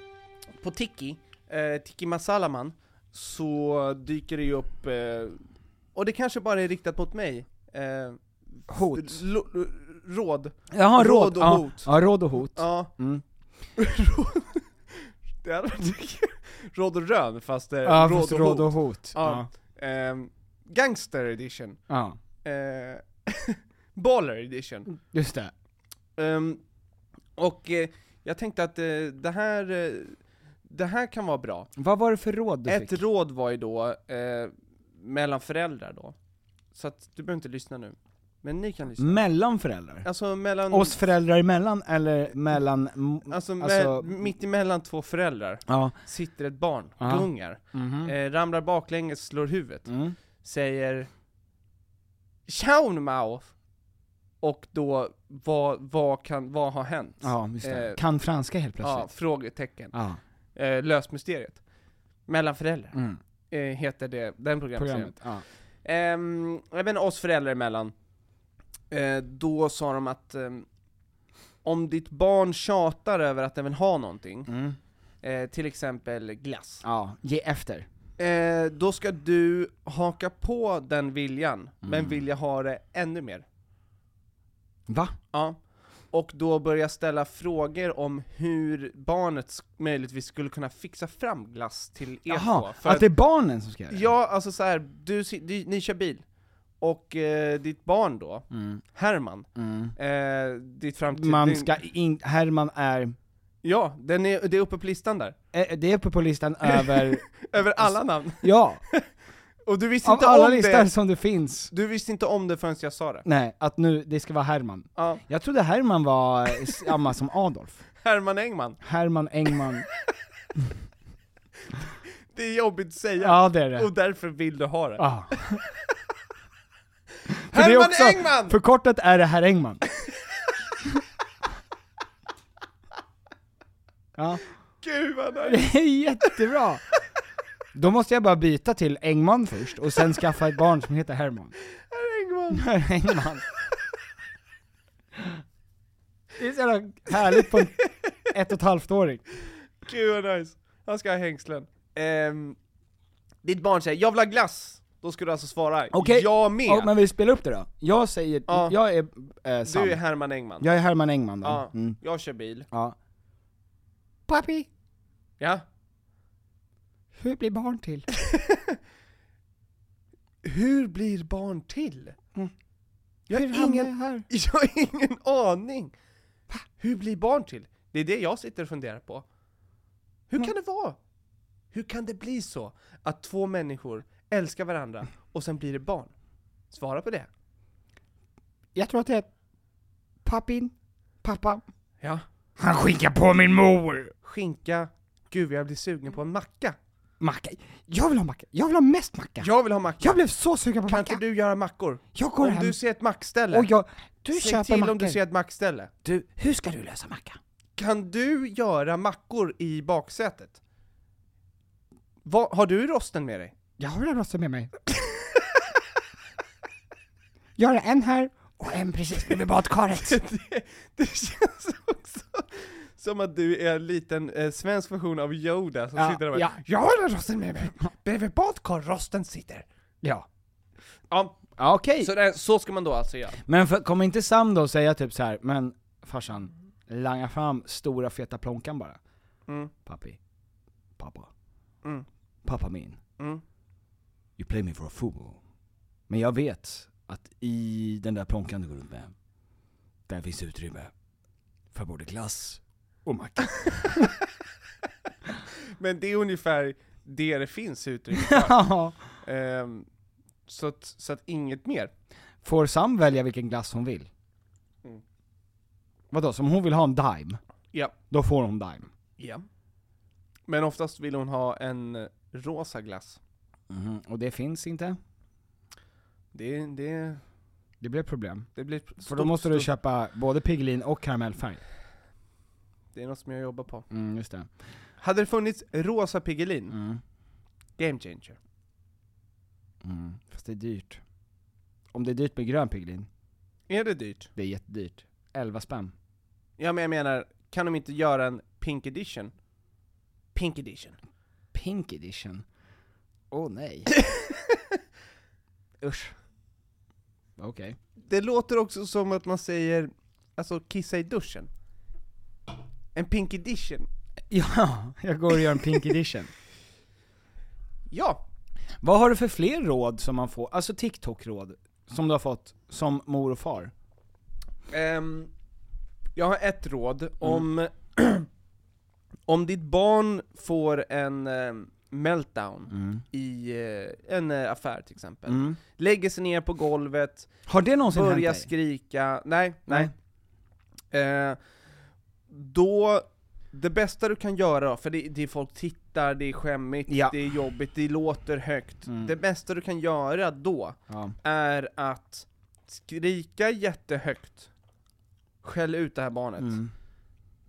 S3: på Tiki, eh, Tiki Masalaman, så dyker det ju upp, eh, och det kanske bara är riktat mot mig, eh,
S2: Hot.
S3: lo- lo- råd.
S2: Jaha,
S3: råd och
S2: ja,
S3: hot.
S2: Ja, råd och hot.
S3: Ja. Eh,
S4: Mm.
S3: Råd- det hade varit kul. Råd och rön fast eh,
S4: Ja,
S3: råd,
S4: fast
S3: och
S4: råd och
S3: hot.
S4: hot.
S3: Ja. Ehm, gangster edition.
S4: Ja,
S3: Eh, baller edition.
S4: just det.
S3: Ehm, och eh, jag tänkte att eh, det här, eh, det här kan vara bra.
S4: Vad var det för råd du
S3: Ett
S4: fick?
S3: råd var ju då, eh, mellan föräldrar då. Så att du behöver inte lyssna nu. Men ni kan lyssna.
S4: Mellan föräldrar?
S3: Alltså mellan,
S4: Oss föräldrar emellan eller mellan... m-
S3: alltså, me-
S4: alltså-
S3: mitt emellan två föräldrar.
S4: Ja.
S3: sitter ett barn,
S4: Ja.
S3: gungar, eh, ramlar baklänges, slår huvudet,
S4: Mm.
S3: säger Shaun Mao och då vad, vad, kan, vad har hänt?
S4: Ja, just det.
S3: Eh,
S4: kan franska helt
S3: ja,
S4: plötsligt.
S3: frågetecken.
S4: Ja.
S3: Eh, lös mysteriet. Mellan föräldrar,
S4: Mm.
S3: eh, heter det, den programserien.
S4: Programmet. Ja.
S3: Ehm, jag vet inte, oss föräldrar emellan, eh, då sa de att ehm, om ditt barn tjatar över att den vill ha någonting,
S4: Mm.
S3: eh, till exempel glass,
S4: ja, ge efter.
S3: Eh, då ska du haka på den viljan,
S4: Mm.
S3: men vilja ha det ännu mer.
S4: Va?
S3: Ja. Och då börja ställa frågor om hur barnet sk- möjligtvis skulle kunna fixa fram glass till er
S4: Jaha,
S3: två. För
S4: att det är barnen som ska göra det?
S3: Ja, alltså så här, du, si- du, ni kör bil, och eh, ditt barn då,
S4: Mm.
S3: Herman,
S4: Mm.
S3: eh, ditt framtid...
S4: Man
S3: din-
S4: ska in, Herman är,
S3: Ja, den är, det är uppe på listan där.
S4: eh, det är uppe på listan över,
S3: Över alla namn.
S4: ja,
S3: Och du visste
S4: Alltså- av
S3: inte
S4: alla
S3: om
S4: listor
S3: det.
S4: som det finns.
S3: Du visste inte om det förrän jag sa det.
S4: Nej, att nu, det ska vara Herman.
S3: Ja,
S4: Jag trodde Herman var eh, samma som Adolf.
S3: Herman Engman.
S4: Herman Engman,
S3: Det är jobbigt att säga,
S4: ja det är det.
S3: och därför vill du ha det.
S4: Ah. För det är
S3: Herman
S4: också-
S3: Engman!
S4: Förkortat är det Herr Engman. Ja.
S3: Gud vad nice.
S4: Det är jättebra! Då måste jag bara byta till Engman först, och sen skaffa ett barn som heter Herman.
S3: Herr Engman!
S4: Herr Engman. Det är så jävla härligt på en ett och ett halvt åring.
S3: Gud vad nice. Han ska ha hängslen. Ehm, ditt barn säger 'Jag vill ha glass' Då ska du alltså svara
S4: Okej.
S3: 'Jag med'
S4: Ja, men vi spelar upp det då. Jag säger,
S3: Ja.
S4: jag är eh, Sam.
S3: Du är Herman Engman.
S4: Jag är Herman Engman då.
S3: Ja,
S4: Mm.
S3: jag kör bil.
S4: ja. Pappi,
S3: Ja.
S4: hur blir barn till?
S3: Hur blir barn till? Jag
S4: Mm. Hur
S3: har
S4: hamnar jag
S3: ingen,
S4: här?
S3: jag har ingen aning. Hur blir barn till? Det är det jag sitter och funderar på. Hur
S4: Mm.
S3: kan det vara? Hur kan det bli så att två människor älskar varandra och sen blir det barn? Svara på det.
S4: Jag tror att det är pappin, pappa.
S3: Ja.
S4: Han skickar på min mor!
S3: Skinka. Gud, jag blir
S4: Mm.
S3: sugen på en macka.
S4: Macka. Jag vill ha macka. Jag vill ha mest macka.
S3: Jag vill ha macka.
S4: Jag blev så sugen på
S3: kan
S4: macka.
S3: inte du göra mackor?
S4: Jag går
S3: Om
S4: hem
S3: du ser ett mackställe,
S4: och jag... Du
S3: säg
S4: köper
S3: till
S4: mackor.
S3: om du ser ett mackställe.
S4: Du, hur ska du lösa macka?
S3: Kan du göra mackor i baksätet? Va, har du rosten med dig?
S4: Jag har en rosse med mig. jag har en här och en precis bredvid badkaret.
S3: det, det känns också Som att du är en liten eh, svensk version av Yoda som
S4: Ja,
S3: sitter där och
S4: ja.
S3: bara, Jag har den rosten med mig! Bredvid badkarrosten sitter!
S4: Ja.
S3: Ja,
S4: Ja, okej.
S3: så, det, så ska man då alltså göra.
S4: Men för, kommer inte Sam då säga typ så här, men farsan, langa fram stora feta plånkan bara.
S3: Mm.
S4: Pappi. Pappa.
S3: Mm.
S4: Pappa min.
S3: Mm.
S4: You play me for a fool. Men jag vet att i den där plånkan du går runt med, där finns utrymme för både glass och macka.
S3: Men det är ungefär det det finns utrymme för.
S4: Ja.
S3: Ehm, så, att, så att inget mer.
S4: Får Sam välja vilken glass hon vill?
S3: Mm.
S4: Vadå, som hon vill ha en Dime,
S3: Ja.
S4: då får hon Dime?
S3: ja. Men oftast vill hon ha en eh, rosa glass. Mm.
S4: Mhm, Och det finns inte?
S3: Det, det,
S4: Det blir ett problem.
S3: det blir
S4: För
S3: stort,
S4: då måste du
S3: stort-
S4: köpa både Piggelin och karamellfärg.
S3: Det är något som jag jobbar på.
S4: Mm, just det.
S3: Hade det funnits rosa Piggelin,
S4: Mm.
S3: game changer.
S4: Mm. Fast det är dyrt. Om det är dyrt med grön Piggelin,
S3: Är det dyrt?
S4: det är jättedyrt. 11 spänn.
S3: Ja men jag menar, kan de inte göra en pink edition? Pink edition.
S4: Pink edition? Åh oh, nej. Usch. Okej.
S3: Det låter också som att man säger, alltså kissa i duschen. En pink edition.
S4: Ja, jag går och gör en pink edition.
S3: Ja!
S4: Vad har du för fler råd som man får, alltså TikTok-råd, som du har fått som mor och far?
S3: Ehm, jag har ett råd,
S4: Mm.
S3: om, om ditt barn får en ehm, meltdown
S4: Mm.
S3: i eh, en eh, affär till exempel, lägger sig ner på golvet,
S4: Har det någonsin
S3: börjar
S4: hänt dig? Mm.
S3: skrika, nej, nej. Eh, då, det bästa du kan göra då, för det, det är folk tittar, det är skämmigt,
S4: Ja. Mm.
S3: det är jobbigt, det låter högt. Det bästa du kan göra då,
S4: Ja.
S3: är att skrika jättehögt, skäll ut det här barnet,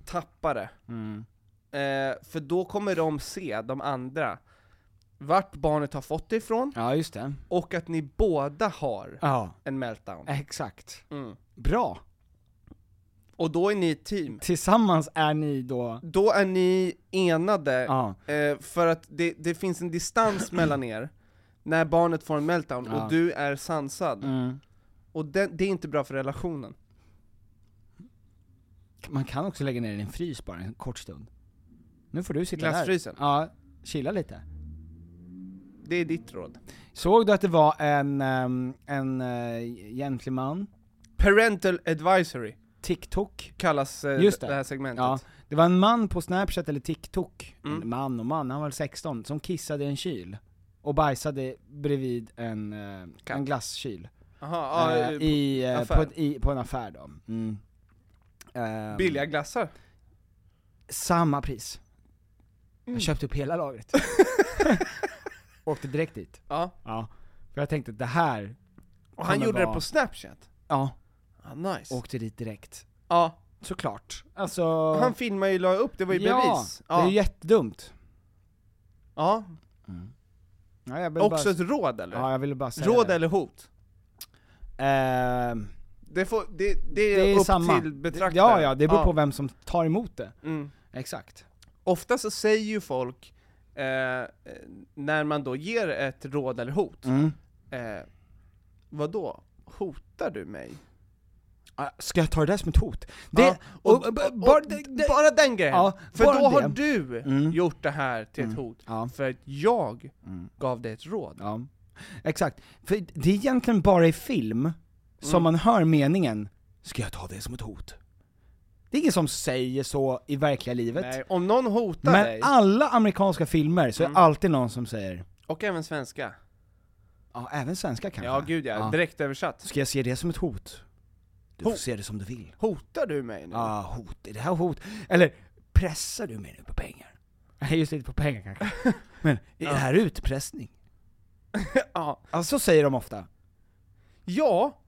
S3: tappa det.
S4: Mm.
S3: Eh, för då kommer de se, de andra, vart barnet har fått det ifrån,
S4: ja, just det.
S3: och att ni båda har
S4: Ja,
S3: en meltdown.
S4: Äh. exakt.
S3: Mm.
S4: Bra.
S3: Och då är ni ett team.
S4: Tillsammans är ni då...
S3: Då är ni enade,
S4: Ja.
S3: eh, för att det, det finns en distans mellan er, när barnet får en meltdown,
S4: Ja.
S3: och du är sansad.
S4: Mm.
S3: Och det, det är inte bra för relationen.
S4: Man kan också lägga ner den i en frys bara en kort stund. Nu får du sitta
S3: Glassfrysen.
S4: där. Ja, chilla lite.
S3: Det är ditt råd.
S4: Såg du att det var en, ehm, en eh, gentleman,
S3: Parental advisory.
S4: TikTok?
S3: kallas eh,
S4: Just
S3: det.
S4: det.
S3: här segmentet.
S4: Ja, det var en man på snapchat eller TikTok,
S3: Mm.
S4: en man och man, han var väl 16, som kissade i en kyl. Och bajsade bredvid en, eh,
S3: Katt.
S4: en glasskyl.
S3: Aha, ja,
S4: Eh,
S3: eh,
S4: i, eh,
S3: affär.
S4: på, ett, i, på en affär då. Mm. Ehm,
S3: billiga glassar.
S4: Samma pris. Jag köpte upp hela lagret. Åkte direkt dit.
S3: Ja.
S4: Ja. För jag tänkte det här,
S3: Och han
S4: kommer
S3: gjorde det
S4: vara-
S3: på Snapchat.
S4: ja,
S3: Ah, nice.
S4: åkte dit direkt.
S3: ja.
S4: Såklart. Alltså...
S3: Han filmade ju och la upp, det var ju
S4: ja,
S3: bevis.
S4: det är
S3: Ja.
S4: ju jättedumt.
S3: ja.
S4: Mm. Ja, jag ville
S3: Också ett
S4: bara,
S3: råd eller?
S4: Ja, jag ville bara säga
S3: råd
S4: det.
S3: eller hot?
S4: Ehm,
S3: Det, får, det, det
S4: det
S3: är,
S4: är
S3: upp
S4: samma.
S3: till
S4: Det-
S3: betraktaren.
S4: Ja, ja, det beror på vem som tar emot det.
S3: Mm.
S4: Exakt.
S3: Ofta så säger ju folk, eh, eh, när man då ger ett råd eller hot,
S4: Mm.
S3: eh, vadå? Hotar du mig?
S4: Ah, Ska jag ta det där som ett hot? Det,
S3: Ja, och, och,
S4: och-
S3: och,
S4: bara det- det-
S3: bara den grejen!
S4: Ja,
S3: för
S4: bara
S3: då har
S4: det.
S3: du
S4: Mm.
S3: gjort det här till ett hot,
S4: Ja.
S3: för att jag
S4: Mm.
S3: gav dig ett råd.
S4: Ja, exakt. För det är egentligen bara i film som
S3: Mm.
S4: man hör meningen 'Ska jag ta det som ett hot?' Det är ingen som säger så i verkliga livet.
S3: Nej, Mm. om någon hotar
S4: Men
S3: dig,
S4: alla amerikanska filmer så är det alltid någon som säger,
S3: och även svenska,
S4: ja även svenska kanske.
S3: ja gud ja, direkt översatt.
S4: Ska jag se det som ett hot? Du får
S3: Hot.
S4: se det som du vill.
S3: Hotar du mig nu?
S4: Ja, hot. Är det här hot? Eller, pressar du mig nu på pengar? Nej just inte på pengar kanske. Men, är det här utpressning?
S3: Ja.
S4: Alltså så säger de ofta.
S3: ja,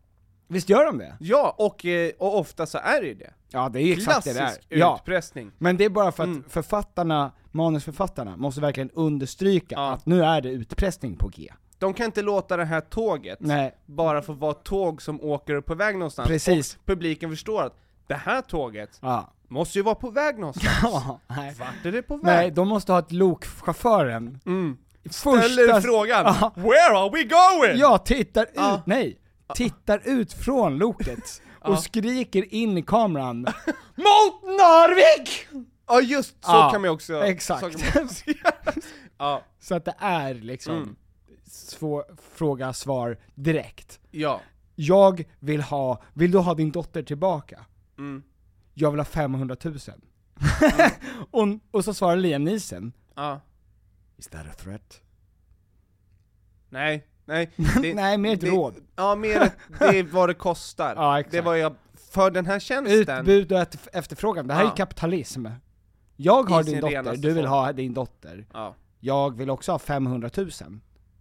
S4: Visst gör de det?
S3: ja, och, eh, och ofta så är det ju det.
S4: Ja det är ju exakt det
S3: Klassisk
S4: det är. Ja.
S3: utpressning.
S4: Men det är bara för att
S3: Mm.
S4: författarna, manusförfattarna, måste verkligen understryka
S3: Ja.
S4: att nu är det utpressning på G.
S3: De kan inte låta det här tåget
S4: Nej.
S3: bara få vara ett tåg som åker upp på väg någonstans,
S4: Precis.
S3: och publiken förstår att det här tåget
S4: Ja.
S3: Måste ju vara på väg någonstans.
S4: Ja, nej.
S3: Vart är det på väg?
S4: Nej, de måste ha ett lok, chauffören.
S3: Mm.
S4: Första-
S3: Ställer frågan.
S4: Ja.
S3: Where are we going?
S4: Ja, tittar ut,
S3: Ja.
S4: nej, tittar ut från loket och
S3: Ja.
S4: skriker in i kameran MOT NORVIK!
S3: Ja just, så
S4: Ja,
S3: kan man ju också...
S4: exakt.
S3: Så kan man också göra. ja,
S4: Så att det är liksom
S3: Mm.
S4: svår, fråga, svar direkt.
S3: ja.
S4: Jag vill ha, vill du ha din dotter tillbaka?
S3: Mm.
S4: Jag vill ha 500 000.
S3: Mm.
S4: och, och så svarar Liam Neeson,
S3: Ja.
S4: Is that a threat?
S3: Nej, nej. det-
S4: Nej, mer ett
S3: det-
S4: råd.
S3: Ja, mer ett- det är vad det kostar.
S4: Ja, exakt.
S3: Det var jag, för den här tjänsten.
S4: Utbud och eft- efterfrågan, det här
S3: Ja.
S4: är kapitalism. Jag har
S3: I sin
S4: din dotter,
S3: renaste
S4: du vill
S3: form.
S4: ha din dotter.
S3: Ja.
S4: Jag vill också ha 500 000.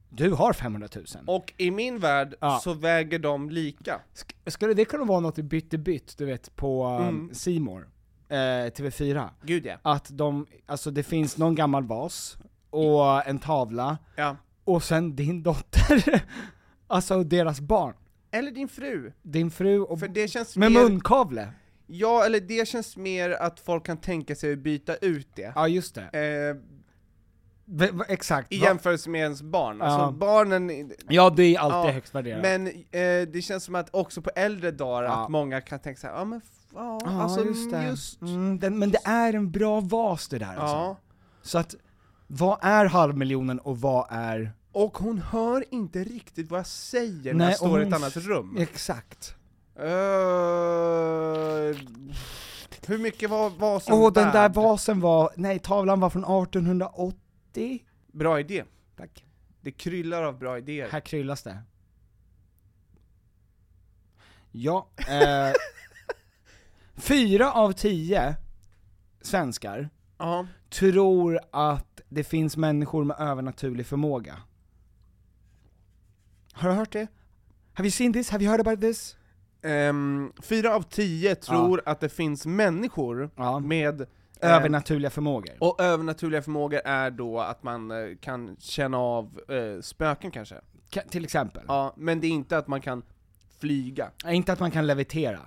S4: Du har 500 000.
S3: Och i min värld
S4: Ja.
S3: så väger de lika.
S4: Sk- skulle det kunna vara något i bytt i bytt, du vet, på
S3: Mm.
S4: um, C More, eh, TV4?
S3: Gud ja.
S4: Att de, alltså det finns någon gammal vas, och en tavla,
S3: ja.
S4: och sen din dotter. alltså deras barn.
S3: Eller din fru.
S4: Din fru och...
S3: För det känns
S4: Med
S3: mer...
S4: munkavle!
S3: Ja, eller det känns mer att folk kan tänka sig att byta ut det.
S4: Ja just det.
S3: Eh,
S4: V- v- exakt.
S3: I
S4: Va-
S3: jämförelse med ens barn. Alltså
S4: Ja.
S3: barnen...
S4: Ja det är alltid
S3: Ja,
S4: högst värderat.
S3: Men eh, det känns som att också på äldre dagar
S4: Ja.
S3: att många kan tänka såhär, ja men f- ja,
S4: Ja,
S3: alltså
S4: just det.
S3: just
S4: Mm, den, men det är en bra vas det där alltså.
S3: ja.
S4: Så att, vad är halvmiljonen och vad är...
S3: Och hon hör inte riktigt vad jag säger när
S4: Nej,
S3: jag
S4: och
S3: står i ett
S4: hon
S3: annat
S4: f-
S3: rum.
S4: Exakt.
S3: Eh, hur mycket var vasen
S4: Åh, den
S3: värd?
S4: där vasen var, nej tavlan var från 1880.
S3: Bra idé.
S4: Tack.
S3: Det kryllar av bra idéer.
S4: Här kryllas det. Ja, eh, fyra av tio svenskar
S3: Ja.
S4: tror att det finns människor med övernaturlig förmåga. Har du hört det? Have you seen this? Have you heard about this?
S3: Ehm, fyra av tio tror att det finns människor
S4: Ja.
S3: med eh,
S4: Övernaturliga förmågor.
S3: och övernaturliga förmågor är då att man eh, kan känna av eh, spöken kanske.
S4: Ka- till exempel.
S3: Ja, men det är inte att man kan flyga.
S4: Nej, Inte att man kan levitera.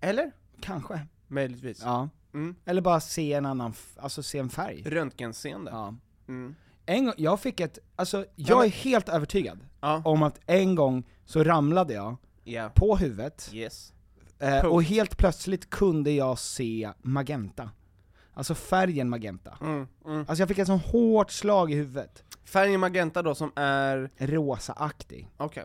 S3: Eller?
S4: Kanske.
S3: Möjligtvis.
S4: Ja.
S3: Mm.
S4: Eller bara se en annan, f- alltså se en färg.
S3: Röntgenseende.
S4: Ja.
S3: Mm.
S4: En gång, jag fick ett, alltså
S3: Ja,
S4: jag
S3: men-
S4: är helt övertygad
S3: Ja.
S4: om att en gång så ramlade jag
S3: Ja.
S4: på huvudet,
S3: Yes.
S4: eh, och
S3: punkt.
S4: helt plötsligt kunde jag se magenta. Alltså färgen magenta.
S3: Mm, mm.
S4: Alltså jag fick ett sånt hårt slag i huvudet,
S3: Färgen magenta då som är...
S4: rosaaktig.
S3: Okej.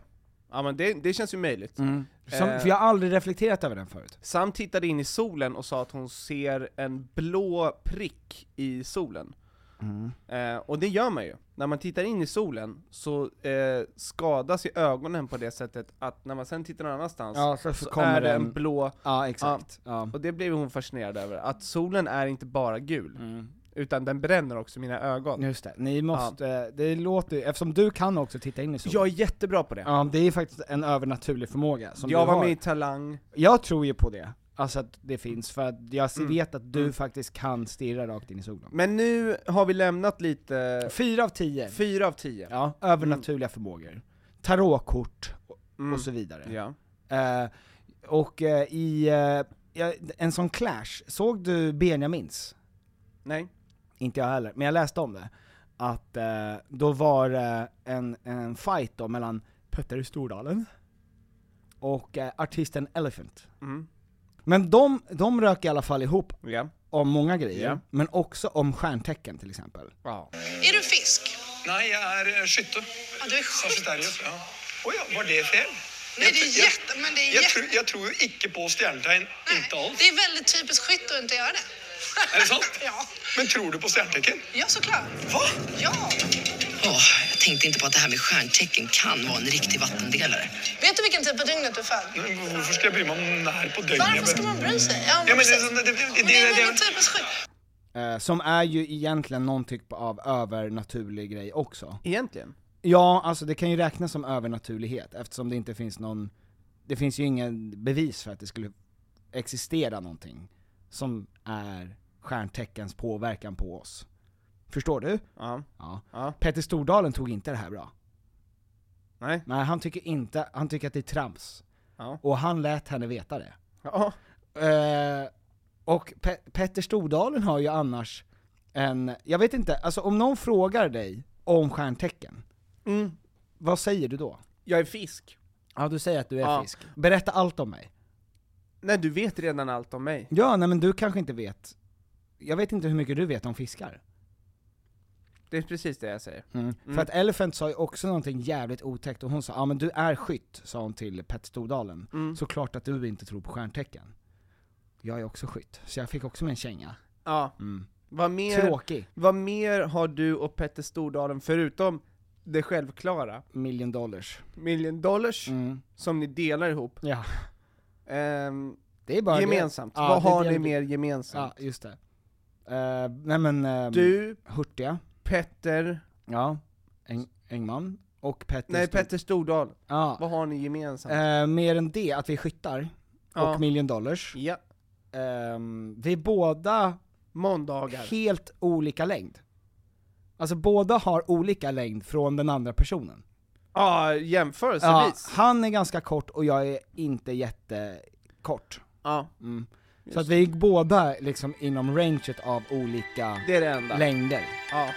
S3: Ja men det, det känns ju möjligt.
S4: Som,
S3: Eh.
S4: För jag har aldrig reflekterat över den förut.
S3: Sam tittade in i solen och sa att hon ser en blå prick i solen.
S4: Mm.
S3: Eh, och det gör man ju. När man tittar in i solen så eh, skadas ju ögonen på det sättet att när man sen tittar någon annanstans
S4: Ja, så,
S3: så
S4: kommer
S3: är det
S4: den...
S3: en blå...
S4: Ja, exakt. Ja.
S3: Och det blev hon fascinerad över, att solen är inte bara gul, utan den bränner också mina ögon.
S4: Mm. Just det, ni måste, eh, det låter ju, eftersom du kan också titta in i solen.
S3: Jag är jättebra på det.
S4: Ja, det är faktiskt en övernaturlig förmåga som
S3: jag
S4: du
S3: var
S4: har.
S3: med i Talang,
S4: Jag tror ju på det, alltså att det finns, för att jag
S3: Mm.
S4: vet att du
S3: Mm.
S4: faktiskt kan stirra rakt in i solen.
S3: men nu har vi lämnat lite...
S4: Fyra av tio,
S3: Fyra av tio.
S4: ja, övernaturliga förmågor. Tarotkort och,
S3: Mm.
S4: och så vidare.
S3: Ja.
S4: Eh, och eh, i, eh, ja, en sån clash, såg du Benjamins?
S3: Nej.
S4: Inte jag heller, men jag läste om det. Att eh, då var det en, en fight då mellan Petter Stordalen och eh, artisten Elephant.
S3: Mm.
S4: Men de, de rök i alla fall ihop
S3: Ja.
S4: om många grejer,
S3: Ja.
S4: men också om stjärntecken till exempel.
S3: Ja.
S7: Är du fisk? Nej, jag är eh, skytte. Ja, du är skytte? Ja. Oj, ja, var det fel? Nej, det är jätte... Men det är jag, tror, jag tror ju inte på stjärntecken. Inte alls. Det är väldigt typiskt skytte att inte göra det. Är det sant? ja. Men tror du på stjärntecken? Ja, såklart. Va? Ja. jag tänkte inte på att det här med stjärntecken kan vara en riktig vattendelare. Vet du vilken tid på dygnet du född? Varför ska jag bry mig om när på dygnet? Varför ska man bry sig? Ja, men det, är så- det, det, det, det är väldigt typiskt skytte.
S4: Eh, som är ju egentligen någon typ av övernaturlig grej också.
S3: Egentligen.
S4: Ja, alltså det kan ju räknas som övernaturlighet eftersom det inte finns någon, det finns ju ingen bevis för att det skulle existera någonting som är stjärnteckens påverkan på oss. Förstår du?
S3: Ja.
S4: Ja.
S3: Ja.
S4: Petter Stordalen tog inte det här bra.
S3: Nej.
S4: Nej, han tycker inte, han tycker att det är trams.
S3: Ja.
S4: Och han lät henne veta det.
S3: Ja.
S4: Eh, Och Pe- Petter Stordalen har ju annars en, jag vet inte, alltså om någon frågar dig om stjärntecken,
S3: Mm.
S4: vad säger du då?
S3: Jag är fisk.
S4: Ja du säger att du är
S3: Ja.
S4: fisk. Berätta allt om mig.
S3: Nej, du vet redan allt om mig.
S4: Ja, nej men du kanske inte vet, jag vet inte hur mycket du vet om fiskar.
S3: Det är precis det jag säger.
S4: Mm.
S3: Mm.
S4: För att Elephant sa ju också någonting jävligt otäckt, och hon sa ja ah, men du är skytt, sa hon till Petter Stordalen.
S3: Mm.
S4: Såklart att du inte tror på stjärntecken. Jag är också skytt, så jag fick också min känga.
S3: Ja.
S4: Mm.
S3: Vad mer,
S4: Tråkig.
S3: Vad mer har du och Petter Stordalen förutom det självklara?
S4: Million dollars.
S3: Million dollars,
S4: Mm.
S3: som ni delar ihop.
S4: Ja.
S3: Ehm,
S4: Det är bara det.
S3: gemensamt.
S4: Ja,
S3: vad
S4: det är
S3: har
S4: det
S3: ni
S4: jag-
S3: mer gemensamt?
S4: Ja, just det. Eh, nej men... ehm,
S3: Du,
S4: Hurtiga.
S3: Petter,
S4: Ja. Eng, Engman. Och Petter
S3: nej
S4: Stor-
S3: Petter Stordalen.
S4: Ja.
S3: Vad har ni gemensamt?
S4: Eh, mer än det, att vi är skyttar.
S3: Ja.
S4: Och million dollars.
S3: Ja.
S4: Ehm, vi är båda
S3: Måndagar.
S4: helt olika längd. Alltså båda har olika längd från den andra personen.
S3: Ja,
S4: Ja,
S3: jämförelsevis.
S4: han är ganska kort och jag är inte jättekort.
S3: Ja.
S4: Mm. Så att vi gick båda liksom inom ranget av olika
S3: Det är det enda.
S4: längder.
S3: Ja.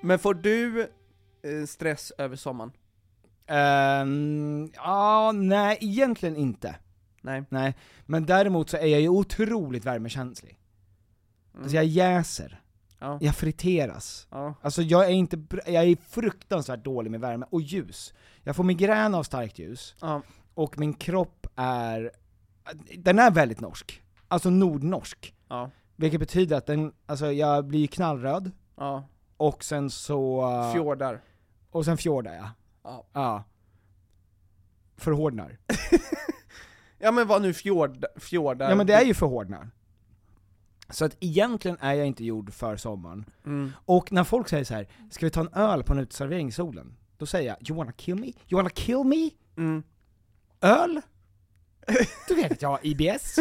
S3: Men får du eh, stress över sommaren?
S4: Ehm, ja, nej egentligen inte.
S3: Nej.
S4: Nej, men däremot så är jag ju otroligt värmekänslig. Alltså jag jäser,
S3: Mm. Ja.
S4: jag friteras.
S3: Ja.
S4: Alltså jag är inte, br- jag är fruktansvärt dålig med värme, och ljus. Jag får migrän av starkt ljus,
S3: Ja.
S4: och min kropp är, den är väldigt norsk. Alltså nordnorsk.
S3: Ja.
S4: Vilket betyder att den, alltså jag blir knallröd,
S3: Ja.
S4: och sen så...
S3: Fjordar.
S4: Och sen fjordar jag.
S3: Ja.
S4: Ja. Förhårdnar.
S3: Ja men vad nu fjord, fjordar?
S4: Ja men det är ju förhårdnar. Så att egentligen är jag inte gjord för sommaren.
S3: Mm.
S4: Och när folk säger så här, ska vi ta en öl på en uteservering i solen? Då säger jag, you wanna kill me? You wanna kill me?
S3: Mm.
S4: Öl? Du vet att jag har IBS?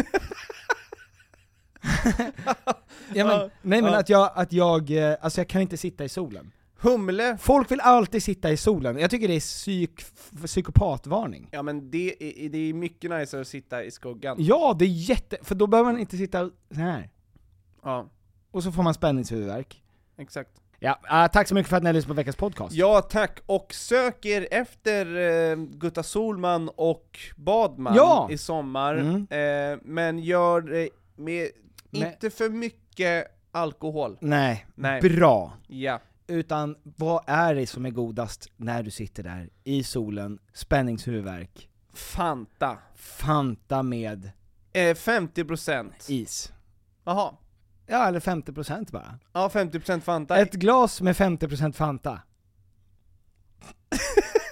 S4: ja, men, nej men att jag, att jag, eh, alltså jag kan inte sitta i solen.
S3: Humle?
S4: Folk vill alltid sitta i solen, jag tycker det är psyk, f- psykopatvarning.
S3: Ja men det är, det är mycket nicer att sitta i skuggan.
S4: Ja, det är jätte, för då behöver man inte sitta så här.
S3: Ja,
S4: Och så får man spänningshuvudvärk.
S3: exakt.
S4: Ja, eh, tack så mycket för att ni har lyssnat på veckans podcast.
S3: Ja tack, och sök er efter eh, Gutta Solman och Badman
S4: Ja.
S3: i sommar,
S4: Mm.
S3: eh, men gör det med,
S4: Med-
S3: inte för mycket alkohol.
S4: Nej,
S3: Nej.
S4: bra.
S3: Ja.
S4: Utan vad är det som är godast när du sitter där i solen, spänningshuvudvärk,
S3: Fanta.
S4: Fanta med
S3: Eh, 50%.
S4: is?
S3: Jaha.
S4: Ja, eller 50% bara.
S3: Ja, 50% Fanta.
S4: Ett glas med 50% Fanta.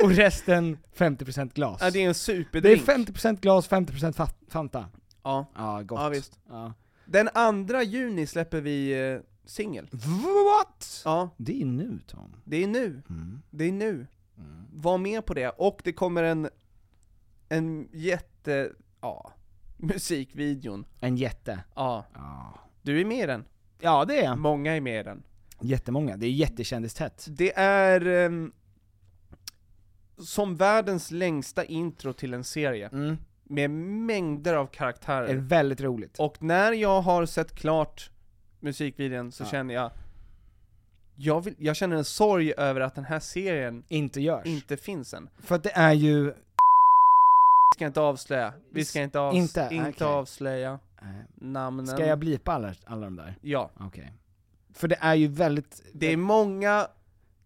S4: Och resten 50% glas.
S3: ja, det
S4: det,
S3: är en
S4: är
S3: superdrink.
S4: 50% glas, 50% fa- Fanta.
S3: ja.
S4: Ja, gott.
S3: ja, visst.
S4: Ja.
S3: Den 2 juni släpper vi eh, singel.
S4: What?
S3: Ja,
S4: Det är nu Tom.
S3: det är nu.
S4: Mm.
S3: Det är nu. Var med på det. Och det kommer en, en jätte, ja, musikvideon.
S4: En jätte.
S3: Ja,
S4: Ja.
S3: du är med i den.
S4: Ja det är jag.
S3: Många är med i den.
S4: Jättemånga, det är jättekändistätt.
S3: Det är ehm, som världens längsta intro till en serie.
S4: Mm.
S3: Med mängder av
S4: Det är
S3: karaktärer.
S4: väldigt roligt.
S3: Och när jag har sett klart musikvideon så
S4: Ja.
S3: känner jag, jag, vill, jag känner en sorg över att den här serien
S4: Inte görs.
S3: inte finns än.
S4: För att det är ju...
S3: Vi ska inte avslöja, vi ska inte, avs-
S4: Inte?
S3: inte,
S4: Okej.
S3: avslöja
S4: Nej.
S3: namnen.
S4: Ska jag blipa alla, alla de där?
S3: Ja.
S4: Okej. För det är ju väldigt...
S3: Det är många,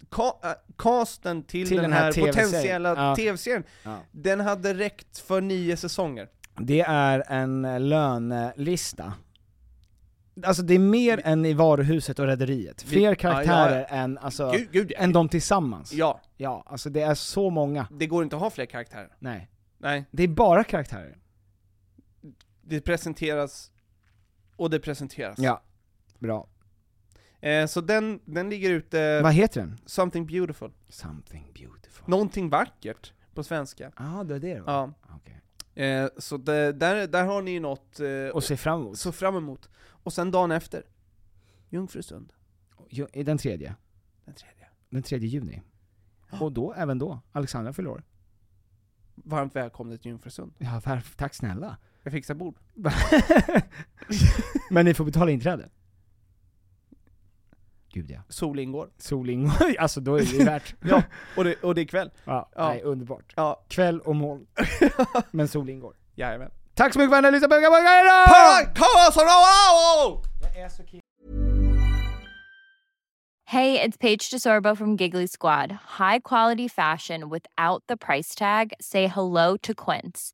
S3: ka- äh, casten till, den, här,
S4: TV-serien.
S3: potentiella
S4: Ja.
S3: tv-serien,
S4: Ja.
S3: den hade räckt för nio säsonger.
S4: Det är en eh, lönelista. Alltså det är mer än i varuhuset och rederiet.
S3: Vi-
S4: Fler
S3: ja,
S4: karaktärer
S3: ja,
S4: än, alltså,
S3: Gud, gud ja.
S4: än de tillsammans.
S3: ja.
S4: ja, alltså det är så många.
S3: Det går inte att ha fler karaktärer.
S4: Nej.
S3: Nej,
S4: Det är bara karaktärer.
S3: det presenteras, och det presenteras.
S4: Ja. Bra.
S3: Eh, så den, den ligger ute,
S4: Vad heter den?
S3: Something beautiful.
S4: Something beautiful.
S3: Någonting vackert, på svenska.
S4: Ja, ah, det var det det var.
S3: Ja.
S4: Okej.
S3: Eh, så det, där, där har ni ju något eh,
S4: Och se fram emot.
S3: så fram emot. Och sen dagen efter, Jungfrusund,
S4: Jo, i Den tredje.
S3: den tredje.
S4: Den tredje juni. Och då, även då, Alexandra fyller år.
S8: Varmt välkomna till Jungfrusund.
S4: Ja, varf- tack snälla.
S8: Jag fixar bord.
S4: Men ni får betala inträde. Gud ja.
S8: Sol ingår.
S4: Sol ingår. alltså då är det ju värt.
S8: Ja, och det, och det är kväll.
S4: Ja,
S8: Ja.
S4: Nej, underbart.
S8: Ja.
S4: Kväll och moln. Men sol ingår.
S8: Jajamän.
S4: Tack så mycket för att ni har lyssnat på Unga Bunkar idag!
S2: Hey, it's Paige DeSorbo from Giggly Squad. High quality fashion without the price tag. Say hello to Quince.